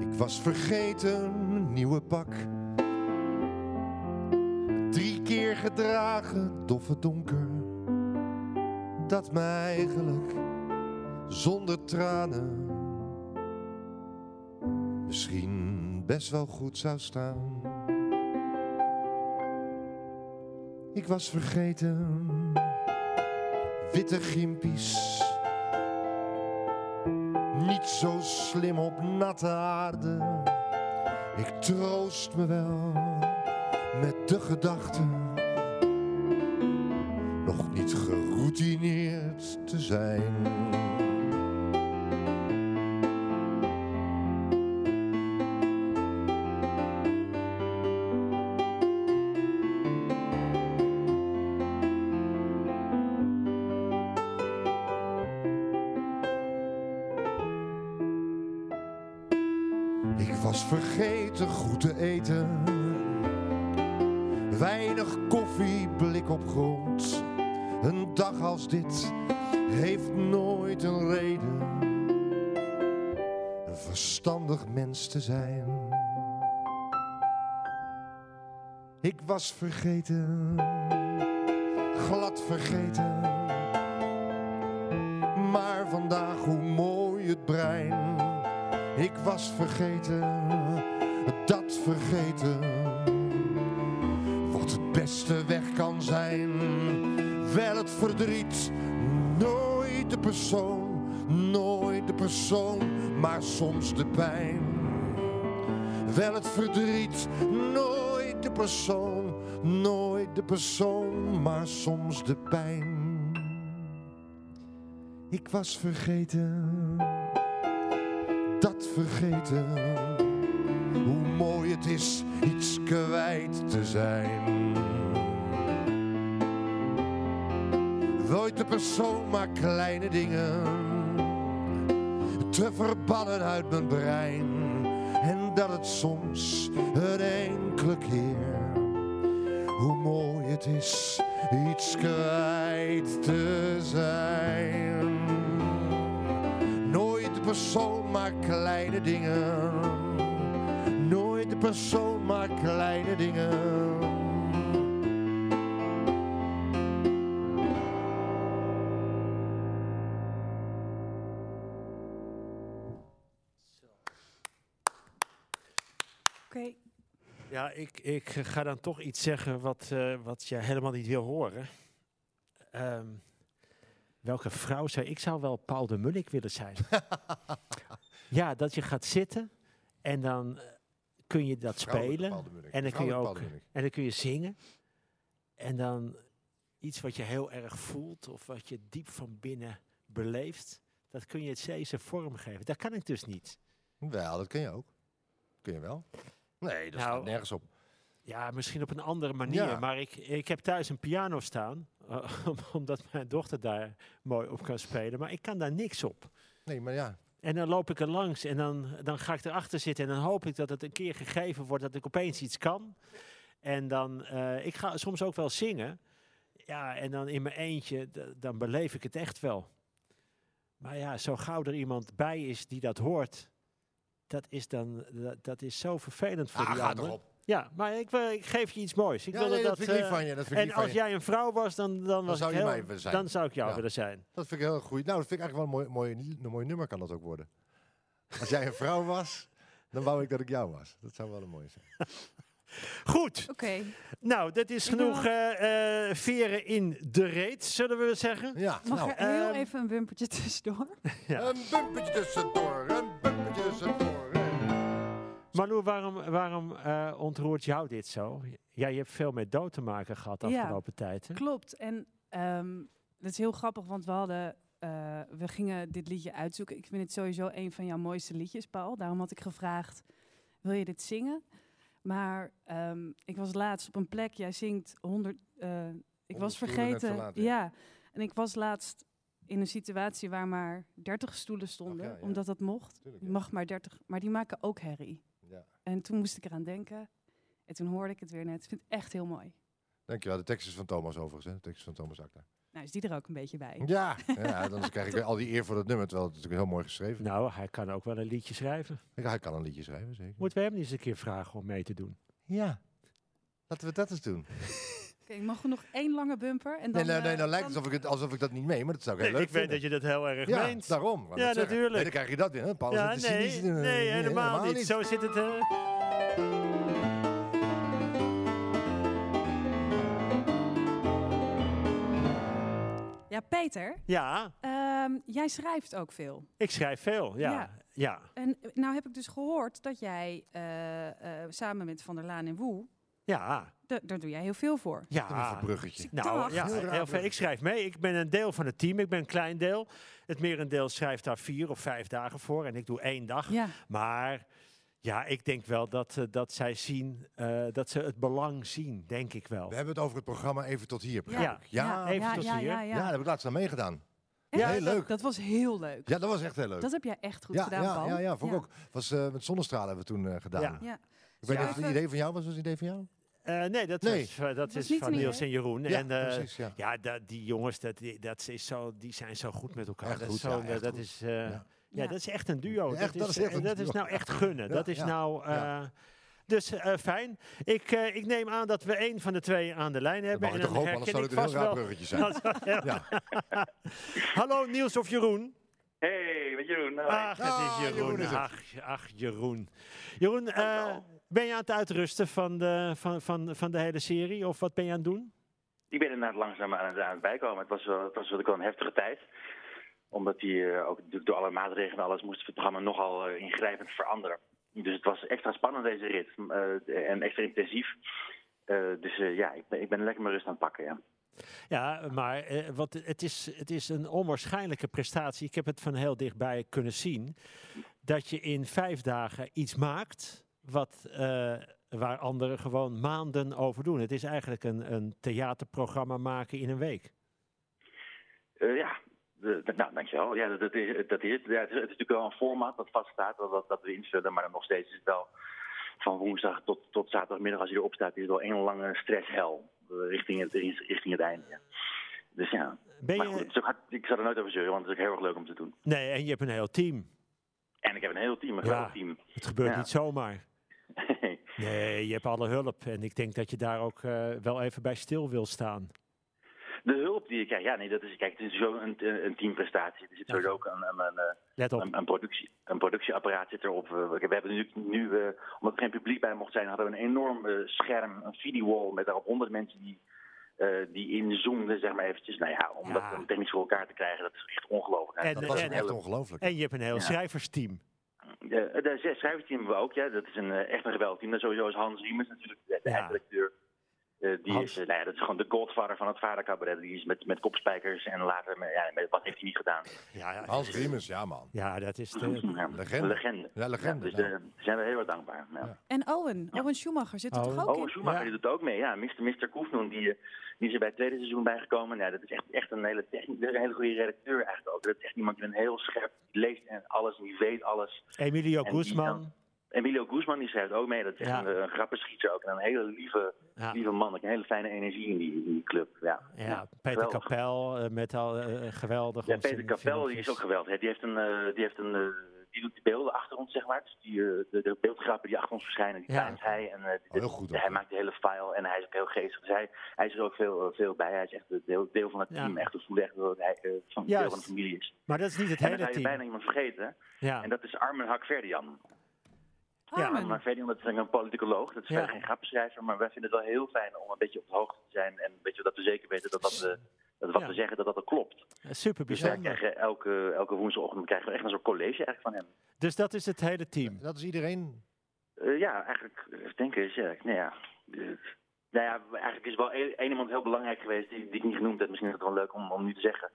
[SPEAKER 2] Ik was vergeten een nieuwe pak. Drie keer gedragen, doffe donker. Dat mij eigenlijk zonder tranen misschien best wel goed zou staan. Ik was vergeten witte gimpies. Niet zo slim op natte aarde. Ik troost me wel met de gedachte nog niet geroutineerd te zijn. Ik was vergeten goed te eten. Weinig koffie, blik op grond. Een dag als dit heeft nooit een reden. Een verstandig mens te zijn. Ik was vergeten, glad vergeten. Maar vandaag hoe mooi het brein. Ik was vergeten, dat vergeten. Wat het beste weg kan zijn. Wel het verdriet, nooit de persoon, nooit de persoon, maar soms de pijn. Wel het verdriet, nooit de persoon, nooit de persoon, maar soms de pijn. Ik was vergeten dat vergeten. Hoe mooi het is iets kwijt te zijn. Nooit de persoon, maar kleine dingen. Te verbannen uit mijn brein. En dat het soms een enkele keer. Hoe mooi het is iets kwijt te zijn. persoon, maar kleine dingen. Nooit de persoon, maar kleine dingen.
[SPEAKER 1] Oké,
[SPEAKER 3] Ja, ik, ik ga dan toch iets zeggen wat, eh, wat je helemaal niet wil horen. Ehm, welke vrouw zou... Ik zou wel Paul de Munnik willen zijn. ja, dat je gaat zitten en dan eh, kun je dat spelen. En dan kun je ook en dan kun je zingen. En dan iets wat je heel erg voelt of wat je diep van binnen beleeft. Dat kun je het deze vorm geven. Dat kan ik dus niet.
[SPEAKER 2] Wel, dat kun je ook. Kun je wel. Nee, dat
[SPEAKER 3] Nou,
[SPEAKER 2] staat nergens op.
[SPEAKER 3] Ja, misschien op een andere manier.
[SPEAKER 2] Ja.
[SPEAKER 3] Maar ik, ik heb thuis een piano staan. eh, om- omdat mijn dochter daar mooi op kan spelen. Maar ik kan daar niks op.
[SPEAKER 2] Nee, maar ja.
[SPEAKER 3] En dan loop ik er langs en dan, dan ga ik erachter zitten. En dan hoop ik dat het een keer gegeven wordt dat ik opeens iets kan. En dan, eh, ik ga soms ook wel zingen. Ja, en dan in mijn eentje, d- dan beleef ik het echt wel. Maar ja, zo gauw er iemand bij is die dat hoort, dat is dan, dat, dat is zo vervelend voor
[SPEAKER 2] Ah,
[SPEAKER 3] die
[SPEAKER 2] ga
[SPEAKER 3] ander.
[SPEAKER 2] erop.
[SPEAKER 3] Ja, maar ik, wil- ik geef je iets moois. Ik
[SPEAKER 2] Ja,
[SPEAKER 3] wilde
[SPEAKER 2] nee, dat
[SPEAKER 3] dat,
[SPEAKER 2] vind ik lief
[SPEAKER 3] eh,
[SPEAKER 2] van je. Dat vind ik
[SPEAKER 3] en
[SPEAKER 2] lief van
[SPEAKER 3] als
[SPEAKER 2] je.
[SPEAKER 3] jij een vrouw was, dan, dan, was
[SPEAKER 2] zou
[SPEAKER 3] ik
[SPEAKER 2] je
[SPEAKER 3] heel-
[SPEAKER 2] mij willen zijn.
[SPEAKER 3] Dan zou ik jou
[SPEAKER 2] Ja.
[SPEAKER 3] willen zijn.
[SPEAKER 2] Dat vind ik heel goed. Nou, dat vind ik eigenlijk wel een mooi, mooi, een mooi nummer kan dat ook worden. Als jij een vrouw was, dan wou ik dat ik jou was. Dat zou wel een mooie zijn.
[SPEAKER 3] Goed,
[SPEAKER 1] oké.
[SPEAKER 3] Nou, dat is
[SPEAKER 1] Ik ben
[SPEAKER 3] genoeg eh, eh, veren in de reet, zullen we zeggen.
[SPEAKER 2] Ja,
[SPEAKER 1] Mag
[SPEAKER 2] nou.
[SPEAKER 1] er heel
[SPEAKER 3] ehm,
[SPEAKER 1] even een wimpertje tussendoor?
[SPEAKER 3] Ja.
[SPEAKER 2] Een bumpertje tussendoor, een bumpertje tussendoor.
[SPEAKER 3] Malou, waarom, waarom eh, ontroert jou dit zo? Ja, je hebt veel met dood te maken gehad de
[SPEAKER 1] Ja.
[SPEAKER 3] afgelopen tijd. Hè?
[SPEAKER 2] Hm?
[SPEAKER 1] Klopt. En ehm, dat is heel grappig, want we hadden. eh, we gingen dit liedje uitzoeken. Ik vind het sowieso een van jouw mooiste liedjes, Paul. Daarom had ik gevraagd: wil je dit zingen? Maar ehm, ik was laatst op een plek. Jij zingt 100. eh, ik was
[SPEAKER 2] Honderd stoelen net
[SPEAKER 1] vergeten.
[SPEAKER 2] verlaten, ja.
[SPEAKER 1] ja. En ik was laatst in een situatie waar maar 30 stoelen stonden,
[SPEAKER 2] ja, ja.
[SPEAKER 1] omdat dat mocht.
[SPEAKER 2] Tuurlijk,
[SPEAKER 1] Je
[SPEAKER 2] ja.
[SPEAKER 1] mag maar 30, maar die maken ook herrie.
[SPEAKER 2] Ja.
[SPEAKER 1] En toen moest ik eraan denken. En toen hoorde ik het weer net. Ik vind het echt heel mooi.
[SPEAKER 2] Dankjewel, de tekst is van Thomas overigens. Hè. De tekst is van Thomas Akda.
[SPEAKER 1] Nou, is die er ook een beetje bij?
[SPEAKER 2] Ja, ja, dan krijg ik al die eer voor dat nummer, terwijl het natuurlijk heel mooi geschreven is.
[SPEAKER 3] Nou, hij kan ook wel een liedje schrijven.
[SPEAKER 2] Ik- Hij kan een liedje schrijven, zeker.
[SPEAKER 3] Moeten we hem eens een keer vragen om mee te doen?
[SPEAKER 2] Ja, laten we dat eens doen.
[SPEAKER 1] Oké, mag er nog één lange bumper? En dan,
[SPEAKER 2] Nee, nou, nee,
[SPEAKER 1] eh,
[SPEAKER 2] nou lijkt
[SPEAKER 1] dan-
[SPEAKER 2] het alsof ik, het, alsof ik dat niet mee, maar dat zou ik heel leuk vinden.
[SPEAKER 3] je dat heel erg
[SPEAKER 2] ja, daarom. wou ik
[SPEAKER 3] Ja,
[SPEAKER 2] net zeggen.
[SPEAKER 3] natuurlijk.
[SPEAKER 2] Nee, dan krijg je dat weer. Hè? Paul, is
[SPEAKER 3] Ja,
[SPEAKER 2] het dus eh,
[SPEAKER 3] nee,
[SPEAKER 2] cynisch?
[SPEAKER 3] nee, helemaal, niet. Zo zit het. eh.
[SPEAKER 1] Ja, Peter,
[SPEAKER 3] Ja,
[SPEAKER 1] ehm, jij schrijft ook veel.
[SPEAKER 3] ik schrijf veel.
[SPEAKER 1] Ja.
[SPEAKER 3] Ja, ja.
[SPEAKER 1] En eh, nou heb ik dus gehoord dat jij eh, eh, samen met Van der Laan en Woe,
[SPEAKER 3] ja.
[SPEAKER 1] da- daar doe jij heel veel voor.
[SPEAKER 3] ja.
[SPEAKER 2] Even een bruggetje.
[SPEAKER 1] Dag.
[SPEAKER 3] Nou, ja,
[SPEAKER 2] Heel raar
[SPEAKER 3] heel veel.
[SPEAKER 2] bruggetje.
[SPEAKER 3] ik schrijf mee. Ik ben een deel van het team. Ik ben een klein deel. Het merendeel schrijft daar vier of vijf dagen voor. En ik doe één dag.
[SPEAKER 1] Ja,
[SPEAKER 3] Maar ja, ik denk wel dat, eh, dat zij zien, eh, dat ze het belang zien, denk ik wel.
[SPEAKER 2] We hebben het over het programma Even Tot Hier, begrijp
[SPEAKER 3] Ja.
[SPEAKER 2] ik. Ja, ja,
[SPEAKER 3] even tot
[SPEAKER 1] ja,
[SPEAKER 3] hier.
[SPEAKER 1] ja,
[SPEAKER 2] ja.
[SPEAKER 1] ja.
[SPEAKER 2] daar heb ik laatst aan meegedaan.
[SPEAKER 1] Echt?
[SPEAKER 2] heel leuk.
[SPEAKER 1] Dat, dat was heel leuk.
[SPEAKER 2] Ja, dat was echt heel leuk.
[SPEAKER 1] Dat heb jij echt goed
[SPEAKER 2] ja,
[SPEAKER 1] gedaan,
[SPEAKER 2] ja,
[SPEAKER 1] Paul.
[SPEAKER 2] ja, ja, vond ik ook. Was, eh, met zonnestralen hebben we toen eh, gedaan.
[SPEAKER 3] Ja.
[SPEAKER 1] Ja.
[SPEAKER 2] Ik weet niet
[SPEAKER 3] Ja.
[SPEAKER 2] of het een idee van jou was, was het een idee van jou?
[SPEAKER 3] Eh, nee, dat,
[SPEAKER 2] Nee.
[SPEAKER 3] Was, eh, dat
[SPEAKER 1] was
[SPEAKER 3] is
[SPEAKER 1] niet
[SPEAKER 3] van
[SPEAKER 1] een
[SPEAKER 3] Niels
[SPEAKER 1] idee.
[SPEAKER 3] en Jeroen.
[SPEAKER 2] Ja,
[SPEAKER 3] en, eh,
[SPEAKER 2] precies, ja.
[SPEAKER 3] dat, die jongens, dat, die- dat is zo, die zijn zo goed met elkaar.
[SPEAKER 2] Echt
[SPEAKER 3] dat
[SPEAKER 2] goed,
[SPEAKER 3] is zo,
[SPEAKER 2] ja, echt
[SPEAKER 3] dat
[SPEAKER 2] goed.
[SPEAKER 3] is, eh, ja.
[SPEAKER 1] Ja.
[SPEAKER 3] dat is echt een duo.
[SPEAKER 2] Echt, dat is echt
[SPEAKER 3] en
[SPEAKER 2] een
[SPEAKER 3] dat is
[SPEAKER 2] duo.
[SPEAKER 3] nou echt gunnen.
[SPEAKER 2] Ja,
[SPEAKER 3] dat is
[SPEAKER 2] ja,
[SPEAKER 3] nou... eh,
[SPEAKER 2] ja.
[SPEAKER 3] Dus eh, fijn. Ik, eh, ik neem aan dat we één van de twee aan de lijn
[SPEAKER 2] Dat
[SPEAKER 3] hebben.
[SPEAKER 2] mag ik toch hopen, anders zou
[SPEAKER 3] herken
[SPEAKER 2] het
[SPEAKER 3] ik
[SPEAKER 2] een heel
[SPEAKER 3] vast
[SPEAKER 2] raar
[SPEAKER 3] wel.
[SPEAKER 2] bruggetje zijn.
[SPEAKER 3] Hallo Niels of Jeroen.
[SPEAKER 6] Hey, met Jeroen. Nou,
[SPEAKER 3] Ach, het
[SPEAKER 2] Ah,
[SPEAKER 3] is Jeroen.
[SPEAKER 2] Jeroen is het.
[SPEAKER 3] ach, ach, Jeroen. Jeroen, eh,
[SPEAKER 6] Hallo.
[SPEAKER 3] ben je aan het uitrusten van de, van, van, van de hele serie? Of wat ben je aan het doen?
[SPEAKER 6] Ik ben inderdaad langzaam aan het, aan het bijkomen. Het was, wel, het was natuurlijk wel een heftige tijd. Omdat die eh, ook natuurlijk door alle maatregelen en alles moest het programma nogal eh, ingrijpend veranderen. Dus het was extra spannend deze rit. eh, en extra intensief. Eh, dus eh, ja, ik ben, ik ben lekker mijn rust aan het pakken, ja.
[SPEAKER 3] Ja, maar eh, wat, het, is, het is een onwaarschijnlijke prestatie. Ik heb het van heel dichtbij kunnen zien. Dat je in vijf dagen iets maakt wat, eh, waar anderen gewoon maanden over doen. Het is eigenlijk een, een theaterprogramma maken in een week.
[SPEAKER 6] Eh, ja, De- de- nou, dankjewel. Ja, dat, dat is, dat is, het. ja, het, is, het is natuurlijk wel een format dat vaststaat, dat, dat, dat we invullen. Maar dan nog steeds is het wel van woensdag tot, tot zaterdagmiddag, als je erop staat, is het wel één lange stresshel eh, richting het, richting het einde. ja. Dus ja,
[SPEAKER 3] Ben
[SPEAKER 6] maar goed,
[SPEAKER 3] je,
[SPEAKER 6] het is ook hard- ik zou er nooit over zeuren, want het is ook heel erg leuk om te doen.
[SPEAKER 3] nee, en je hebt een heel team.
[SPEAKER 6] en ik heb een heel team, een
[SPEAKER 3] Ja.
[SPEAKER 6] groot team.
[SPEAKER 3] Het gebeurt
[SPEAKER 6] Ja.
[SPEAKER 3] niet zomaar. Nee, je hebt alle hulp. En ik denk dat je daar ook eh, wel even bij stil wil staan.
[SPEAKER 6] De hulp die je krijgt, ja, nee, dat is, kijk, het is zo een, een een teamprestatie. Er zit sowieso ook een, een, een, eh,
[SPEAKER 3] Let op.
[SPEAKER 6] een, een productie, een productieapparaat zit erop. We, we hebben nu, nu eh, omdat er geen publiek bij mocht zijn, hadden we een enorm eh, scherm, een videowall met daarop honderd mensen die, eh die inzoomden, zeg maar eventjes. Nou ja, om
[SPEAKER 3] Ja.
[SPEAKER 6] dat dan technisch voor elkaar te krijgen, dat is echt ongelooflijk.
[SPEAKER 3] En,
[SPEAKER 6] dat
[SPEAKER 2] Dat
[SPEAKER 3] eh,
[SPEAKER 6] was
[SPEAKER 2] was
[SPEAKER 6] een
[SPEAKER 3] en-
[SPEAKER 2] echt
[SPEAKER 6] hele
[SPEAKER 2] ongelooflijk.
[SPEAKER 3] En je hebt een heel
[SPEAKER 6] Ja.
[SPEAKER 3] schrijversteam.
[SPEAKER 6] de, de zes schrijvers die hebben we ook, ja. Dat is een, eh, echt een geweldig team. Dat sowieso is Hans Riemers natuurlijk de de
[SPEAKER 3] Ja.
[SPEAKER 6] eindredacteur. Eh, die
[SPEAKER 3] Hans.
[SPEAKER 6] is, eh, nou ja, dat is gewoon de godvader van het vadercabaret. Die is met, met kopspijkers en later, met, ja, met, wat heeft hij niet gedaan?
[SPEAKER 3] Ja, ja,
[SPEAKER 2] Hans Riemers, ja man.
[SPEAKER 3] ja dat is de,
[SPEAKER 6] Ja,
[SPEAKER 2] legende.
[SPEAKER 6] legende.
[SPEAKER 2] Ja, legende.
[SPEAKER 6] dus
[SPEAKER 2] nou.
[SPEAKER 6] eh, daar zijn we heel erg dankbaar. Ja.
[SPEAKER 2] Ja.
[SPEAKER 1] En Owen, Owen Schumacher zit er
[SPEAKER 3] Owen.
[SPEAKER 1] toch ook
[SPEAKER 6] Oh,
[SPEAKER 1] in?
[SPEAKER 6] Schumacher
[SPEAKER 3] Ja.
[SPEAKER 6] die doet ook mee. Ja, Mr. Mr. Koefnoen, die, eh, die is er bij het tweede seizoen bijgekomen. Nou, dat is echt, echt een, hele techni- een hele goede redacteur eigenlijk ook. Dat is echt iemand die een heel scherp die leest en alles en die weet alles.
[SPEAKER 3] Emilio
[SPEAKER 6] die
[SPEAKER 3] Guzman.
[SPEAKER 6] dan- Emilio Guzman die schrijft ook mee. Dat is echt
[SPEAKER 3] Ja.
[SPEAKER 6] een, een grappenschieter ook. En een hele lieve,
[SPEAKER 3] Ja, ja,
[SPEAKER 6] lieve man. Ook Een hele fijne energie in die, in die club. Ja,
[SPEAKER 3] Peter
[SPEAKER 6] geweldig.
[SPEAKER 3] Capel eh, met al eh, geweldig.
[SPEAKER 6] Ja,
[SPEAKER 3] ons
[SPEAKER 6] Peter
[SPEAKER 3] in-
[SPEAKER 6] Capello die is ook geweldig. hè. Die heeft een, eh, die heeft een eh, die doet de beelden achter ons, zeg maar. Dus die, eh, de, de beeldgrappen die achter ons verschijnen, die
[SPEAKER 3] Ja.
[SPEAKER 6] timed hij. En, eh, dit-
[SPEAKER 2] Oh, heel goed ook,
[SPEAKER 6] hij
[SPEAKER 2] hè.
[SPEAKER 6] maakt de hele file en hij is ook heel geestig. Dus hij, hij is er ook veel, eh, veel bij. Hij is echt een deel, deel van het
[SPEAKER 3] Ja.
[SPEAKER 6] team. Echt, we voelen echt dat hij eh, van, deel
[SPEAKER 3] Juist.
[SPEAKER 6] van de familie is.
[SPEAKER 3] Maar dat is niet het
[SPEAKER 6] En dan
[SPEAKER 3] hele
[SPEAKER 6] zou je bijna
[SPEAKER 3] team.
[SPEAKER 6] iemand vergeten.
[SPEAKER 3] Ja.
[SPEAKER 6] En dat is Armin Hakverdian.
[SPEAKER 3] Ja,
[SPEAKER 1] Armen.
[SPEAKER 6] Maar verder, dat is een politicoloog, dat is
[SPEAKER 3] Ja.
[SPEAKER 6] verder geen grappenschrijver, maar wij vinden het wel heel fijn om een beetje op de hoogte te zijn en een beetje dat we zeker weten dat, dat, we, dat wat
[SPEAKER 3] Ja.
[SPEAKER 6] we zeggen, dat dat ook klopt.
[SPEAKER 3] Super
[SPEAKER 6] Dus wij
[SPEAKER 3] bijzonder.
[SPEAKER 6] krijgen elke, elke woensdagochtend krijgen we echt een soort college eigenlijk van hem.
[SPEAKER 3] Dus dat is het hele team.
[SPEAKER 2] Dat is iedereen.
[SPEAKER 6] Eh, ja, eigenlijk, eh, denk eens, ja, nou ja. eh, nou ja, eigenlijk is wel één één iemand heel belangrijk geweest die, die ik niet genoemd heb. Misschien is het wel leuk om, om nu te zeggen.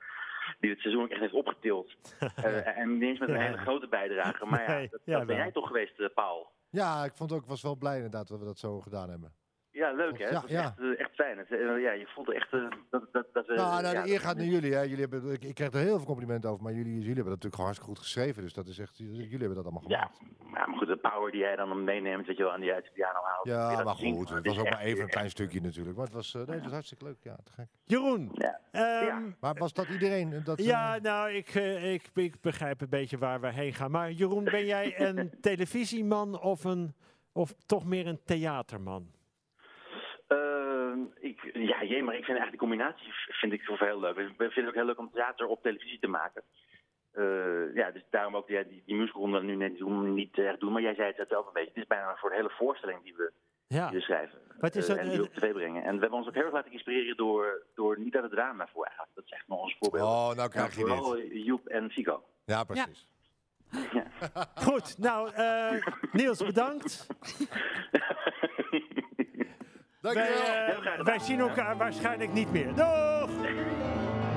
[SPEAKER 6] Die het seizoen ook echt heeft opgetild. Eh, en niet eens met een
[SPEAKER 3] Ja.
[SPEAKER 6] hele grote bijdrage. Maar ja,
[SPEAKER 3] Nee,
[SPEAKER 6] dat,
[SPEAKER 3] ja,
[SPEAKER 6] dat ben
[SPEAKER 3] wel.
[SPEAKER 6] jij toch geweest, eh, Paul?
[SPEAKER 2] Ja, ik vond ook, was wel blij inderdaad dat we dat zo gedaan hebben.
[SPEAKER 6] Ja, leuk hè?
[SPEAKER 2] Ja,
[SPEAKER 6] dat is
[SPEAKER 2] ja.
[SPEAKER 6] Echt, eh, echt fijn. Het, eh, ja, je voelt echt eh, dat, dat, dat we...
[SPEAKER 2] nou, nou,
[SPEAKER 6] ja,
[SPEAKER 2] de eer
[SPEAKER 6] dat-
[SPEAKER 2] gaat naar jullie. Hè. jullie hebben, ik, ik krijg er heel veel complimenten over, maar jullie, jullie hebben dat natuurlijk gewoon hartstikke goed geschreven. Dus dat is echt, jullie hebben dat allemaal
[SPEAKER 6] Ja,
[SPEAKER 2] gemaakt.
[SPEAKER 6] maar goed, de power die jij dan meeneemt, weet je wel, aan die uit de piano haalt.
[SPEAKER 2] Ja,
[SPEAKER 6] dat
[SPEAKER 2] maar
[SPEAKER 6] zien,
[SPEAKER 2] goed,
[SPEAKER 6] dat
[SPEAKER 2] het
[SPEAKER 6] is
[SPEAKER 2] was ook
[SPEAKER 6] echt-
[SPEAKER 2] maar even een klein stukje natuurlijk. Maar het was, eh, nee, het was hartstikke leuk, ja, te gek.
[SPEAKER 3] Jeroen.
[SPEAKER 6] Ja.
[SPEAKER 3] ehm,
[SPEAKER 2] Maar was dat iedereen? eh, Dat, eh,
[SPEAKER 3] Ja, nou, ik, eh, ik, ik begrijp een beetje waar we heen gaan. Maar Jeroen, ben jij een televisieman of, een, of toch meer een theaterman?
[SPEAKER 6] Ehm, ik, ja, jee, maar ik vind eigenlijk de combinatie vind ik heel leuk. Ik vind het ook heel leuk om theater op televisie te maken. Eh, ja, dus daarom ook ja, die, die musical om dat nu net doen, niet echt doen. Maar jij zei het net zelf een beetje. Het is bijna voor de hele voorstelling die we,
[SPEAKER 3] Ja,
[SPEAKER 6] die we schrijven.
[SPEAKER 3] Ah. Wat is
[SPEAKER 6] Eh,
[SPEAKER 3] dat-
[SPEAKER 6] en die we op tv brengen. En we hebben ons ook heel erg laten inspireren door, door niet uit het raam maar voor eigenlijk. Dat is echt nog ons voorbeeld.
[SPEAKER 2] Oh, nou krijg je
[SPEAKER 6] En vooral
[SPEAKER 2] dit.
[SPEAKER 6] Joep en Fico.
[SPEAKER 2] Ja, precies.
[SPEAKER 3] goed. Nou, eh, Niels, bedankt. Wij,
[SPEAKER 2] Dankjewel.
[SPEAKER 3] eh,
[SPEAKER 6] Heel graag gedaan.
[SPEAKER 3] wij zien elkaar waarschijnlijk niet meer. Doeg!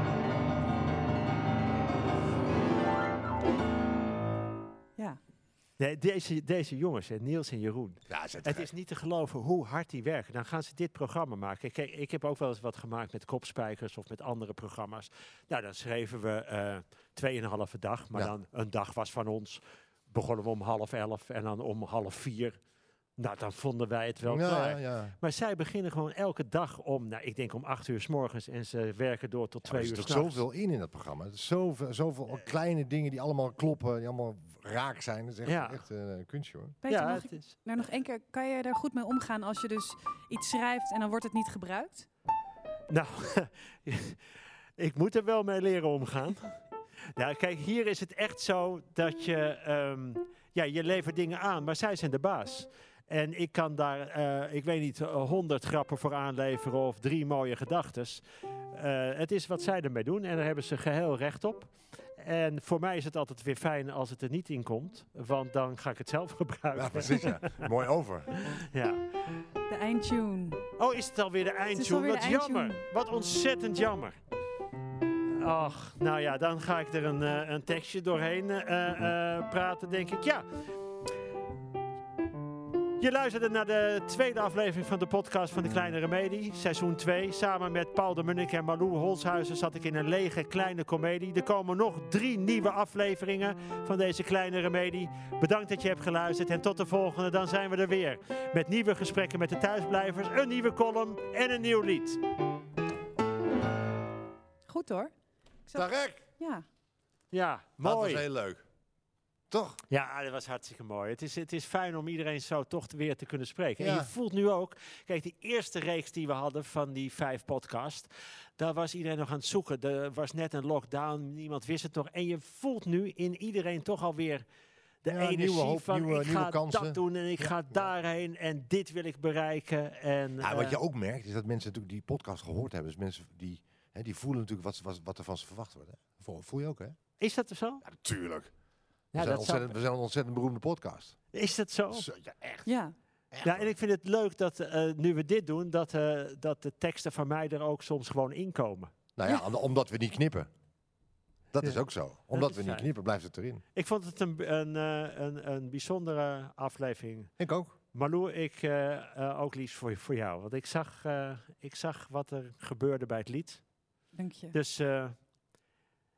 [SPEAKER 1] Ja.
[SPEAKER 3] Nee, deze, deze jongens, hè, Niels en Jeroen.
[SPEAKER 2] Ja, zet
[SPEAKER 3] Het is niet te geloven hoe hard die werken. Dan gaan ze dit programma maken. Kijk, ik heb ook wel eens wat gemaakt met kopspijkers of met andere programma's. Nou, dan schreven we eh, tweeënhalve dag. Maar
[SPEAKER 2] Ja.
[SPEAKER 3] dan een dag was van ons. Begonnen we om half elf en dan om half vier. Nou, dan vonden wij het wel klaar.
[SPEAKER 2] Ja, ja.
[SPEAKER 3] Maar zij beginnen gewoon elke dag om, nou, ik denk om acht uur s morgens. En ze werken door tot
[SPEAKER 2] Maar
[SPEAKER 3] twee
[SPEAKER 2] Er zit
[SPEAKER 3] uur
[SPEAKER 2] ook
[SPEAKER 3] s'nachts.
[SPEAKER 2] zoveel in in dat programma. Er is Zoveel, zoveel kleine dingen die allemaal kloppen, die allemaal raak zijn. Dat is echt,
[SPEAKER 3] Ja.
[SPEAKER 2] echt eh, een kunstje hoor.
[SPEAKER 1] Peter,
[SPEAKER 3] ja,
[SPEAKER 1] mag
[SPEAKER 3] het
[SPEAKER 1] ik
[SPEAKER 3] is-
[SPEAKER 1] nou nog één keer, kan je daar goed mee omgaan als je dus iets schrijft en dan wordt het niet gebruikt?
[SPEAKER 3] Nou, ik moet er wel mee leren omgaan. Nou, kijk, hier is het echt zo dat je, ehm, ja, je levert dingen aan, maar zij zijn de baas. En ik kan daar, eh, ik weet niet, honderd grappen voor aanleveren of drie mooie gedachten. het is wat zij ermee doen en daar hebben ze geheel recht op. En voor mij is het altijd weer fijn als het er niet in komt, want dan ga ik het zelf
[SPEAKER 2] Ja,
[SPEAKER 3] gebruiken.
[SPEAKER 2] precies. ja. Mooi over.
[SPEAKER 3] Ja.
[SPEAKER 1] De eindtune.
[SPEAKER 3] Oh, is het alweer de eindtune?
[SPEAKER 1] alweer
[SPEAKER 3] Wat
[SPEAKER 1] de
[SPEAKER 3] jammer.
[SPEAKER 1] eindtune.
[SPEAKER 3] Wat ontzettend jammer. Ach, nou ja, dan ga ik er een, eh, een tekstje doorheen eh, eh, praten, denk ik. Ja. Je luisterde naar de tweede aflevering van de podcast van De Kleine Remedie, seizoen 2. Samen met Paul de Munnik en Malou Holshuizen zat ik in een lege kleine komedie. Er komen nog drie nieuwe afleveringen van deze Kleine Remedie. Bedankt dat je hebt geluisterd en tot de volgende, dan zijn we er weer. Met nieuwe gesprekken met de thuisblijvers, een nieuwe column en een nieuw lied.
[SPEAKER 1] Goed hoor.
[SPEAKER 2] Tarek,
[SPEAKER 1] Ja.
[SPEAKER 3] Ja,
[SPEAKER 2] dat
[SPEAKER 3] mooi.
[SPEAKER 2] was heel leuk. toch?
[SPEAKER 3] Ja, dat was hartstikke mooi. Het is, het is fijn om iedereen zo toch weer te kunnen spreken. En
[SPEAKER 2] Ja.
[SPEAKER 3] je voelt nu ook, kijk, die eerste reeks die we hadden van die vijf podcast, daar was iedereen nog aan het zoeken. Er was net een lockdown, niemand wist het nog. En je voelt nu in iedereen toch alweer de
[SPEAKER 2] Ja,
[SPEAKER 3] energie
[SPEAKER 2] nieuwe hoop,
[SPEAKER 3] van
[SPEAKER 2] nieuwe-
[SPEAKER 3] ik
[SPEAKER 2] nieuwe
[SPEAKER 3] ga
[SPEAKER 2] kansen.
[SPEAKER 3] dat doen en ik ga daarheen en dit wil ik bereiken. En,
[SPEAKER 2] Ja,
[SPEAKER 3] eh,
[SPEAKER 2] wat je ook merkt is dat mensen natuurlijk die podcast gehoord hebben. Dus mensen die, hè, die voelen natuurlijk wat, ze- wat, wat er van ze verwacht wordt. Hè? Voel, voel je ook, hè?
[SPEAKER 3] Is dat zo?
[SPEAKER 2] Ja, natuurlijk. We,
[SPEAKER 3] Ja,
[SPEAKER 2] zijn,
[SPEAKER 3] dat zou-
[SPEAKER 2] ontzettend, we zijn een ontzettend beroemde podcast.
[SPEAKER 3] is dat zo?
[SPEAKER 2] Zo, ja, echt.
[SPEAKER 1] Ja.
[SPEAKER 2] echt
[SPEAKER 3] Ja, Nou, en ik vind het leuk dat eh, nu we dit doen, dat, eh, dat de teksten van mij er ook soms gewoon inkomen.
[SPEAKER 2] Nou ja, om- omdat we niet knippen. Dat
[SPEAKER 3] Ja.
[SPEAKER 2] is ook zo.
[SPEAKER 3] is
[SPEAKER 2] Omdat we niet
[SPEAKER 3] fijn.
[SPEAKER 2] knippen, blijft het erin.
[SPEAKER 3] Ik vond het een, een, eh, een, een bijzondere aflevering.
[SPEAKER 2] Ik ook.
[SPEAKER 3] Malou, ik eh, eh, ook liefst voor, voor jou. Want ik zag, eh, ik zag wat er gebeurde bij het lied.
[SPEAKER 1] Dank je.
[SPEAKER 3] Dus eh,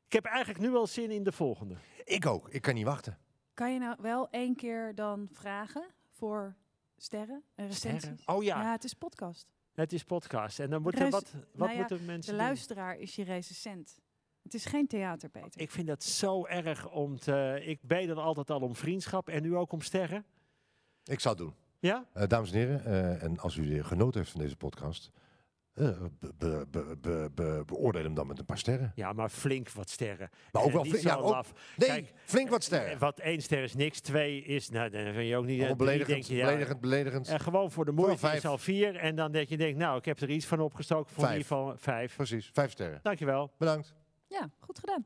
[SPEAKER 3] ik heb eigenlijk nu al zin in de volgende.
[SPEAKER 2] Ik ook. Ik kan niet wachten.
[SPEAKER 1] Kan je nou wel één keer dan vragen voor sterren en recensies?
[SPEAKER 3] Oh ja.
[SPEAKER 1] Ja. het is podcast.
[SPEAKER 3] het is podcast. En dan moeten
[SPEAKER 1] Rec-
[SPEAKER 3] wat, wat
[SPEAKER 1] nou ja,
[SPEAKER 3] moeten mensen
[SPEAKER 1] De
[SPEAKER 3] doen?
[SPEAKER 1] luisteraar is je recensent. Het is geen theater, Peter.
[SPEAKER 3] Ik vind dat zo erg om te... Ik ben dan altijd al om vriendschap en nu ook om sterren.
[SPEAKER 2] Ik zal het doen.
[SPEAKER 3] Ja?
[SPEAKER 2] Eh, dames en heren, eh, en als u genoten heeft van deze podcast, eh, be- be- be- be- be- beoordeel hem dan met een paar sterren.
[SPEAKER 3] Ja, maar flink wat sterren.
[SPEAKER 2] Maar ook
[SPEAKER 3] Eh,
[SPEAKER 2] wel
[SPEAKER 3] niet
[SPEAKER 2] flink- ja,
[SPEAKER 3] zo
[SPEAKER 2] ook-
[SPEAKER 3] laf.
[SPEAKER 2] Nee,
[SPEAKER 3] Kijk,
[SPEAKER 2] flink wat
[SPEAKER 3] Eh,
[SPEAKER 2] sterren.
[SPEAKER 3] Wat één ster is niks, twee is, nou, dan vind je ook niet.
[SPEAKER 2] Allemaal
[SPEAKER 3] eh, drie
[SPEAKER 2] beledigend,
[SPEAKER 3] denk je, ja,
[SPEAKER 2] beledigend, beledigend.
[SPEAKER 3] eh, gewoon voor de
[SPEAKER 2] Voor
[SPEAKER 3] moeite
[SPEAKER 2] vijf.
[SPEAKER 3] is al vier. En dan denk je, denkt, nou, ik heb er iets van opgestoken. Voor in
[SPEAKER 2] Vijf.
[SPEAKER 3] ieder geval vijf.
[SPEAKER 2] Precies, vijf sterren.
[SPEAKER 3] Dankjewel.
[SPEAKER 2] Bedankt.
[SPEAKER 1] Ja, goed gedaan.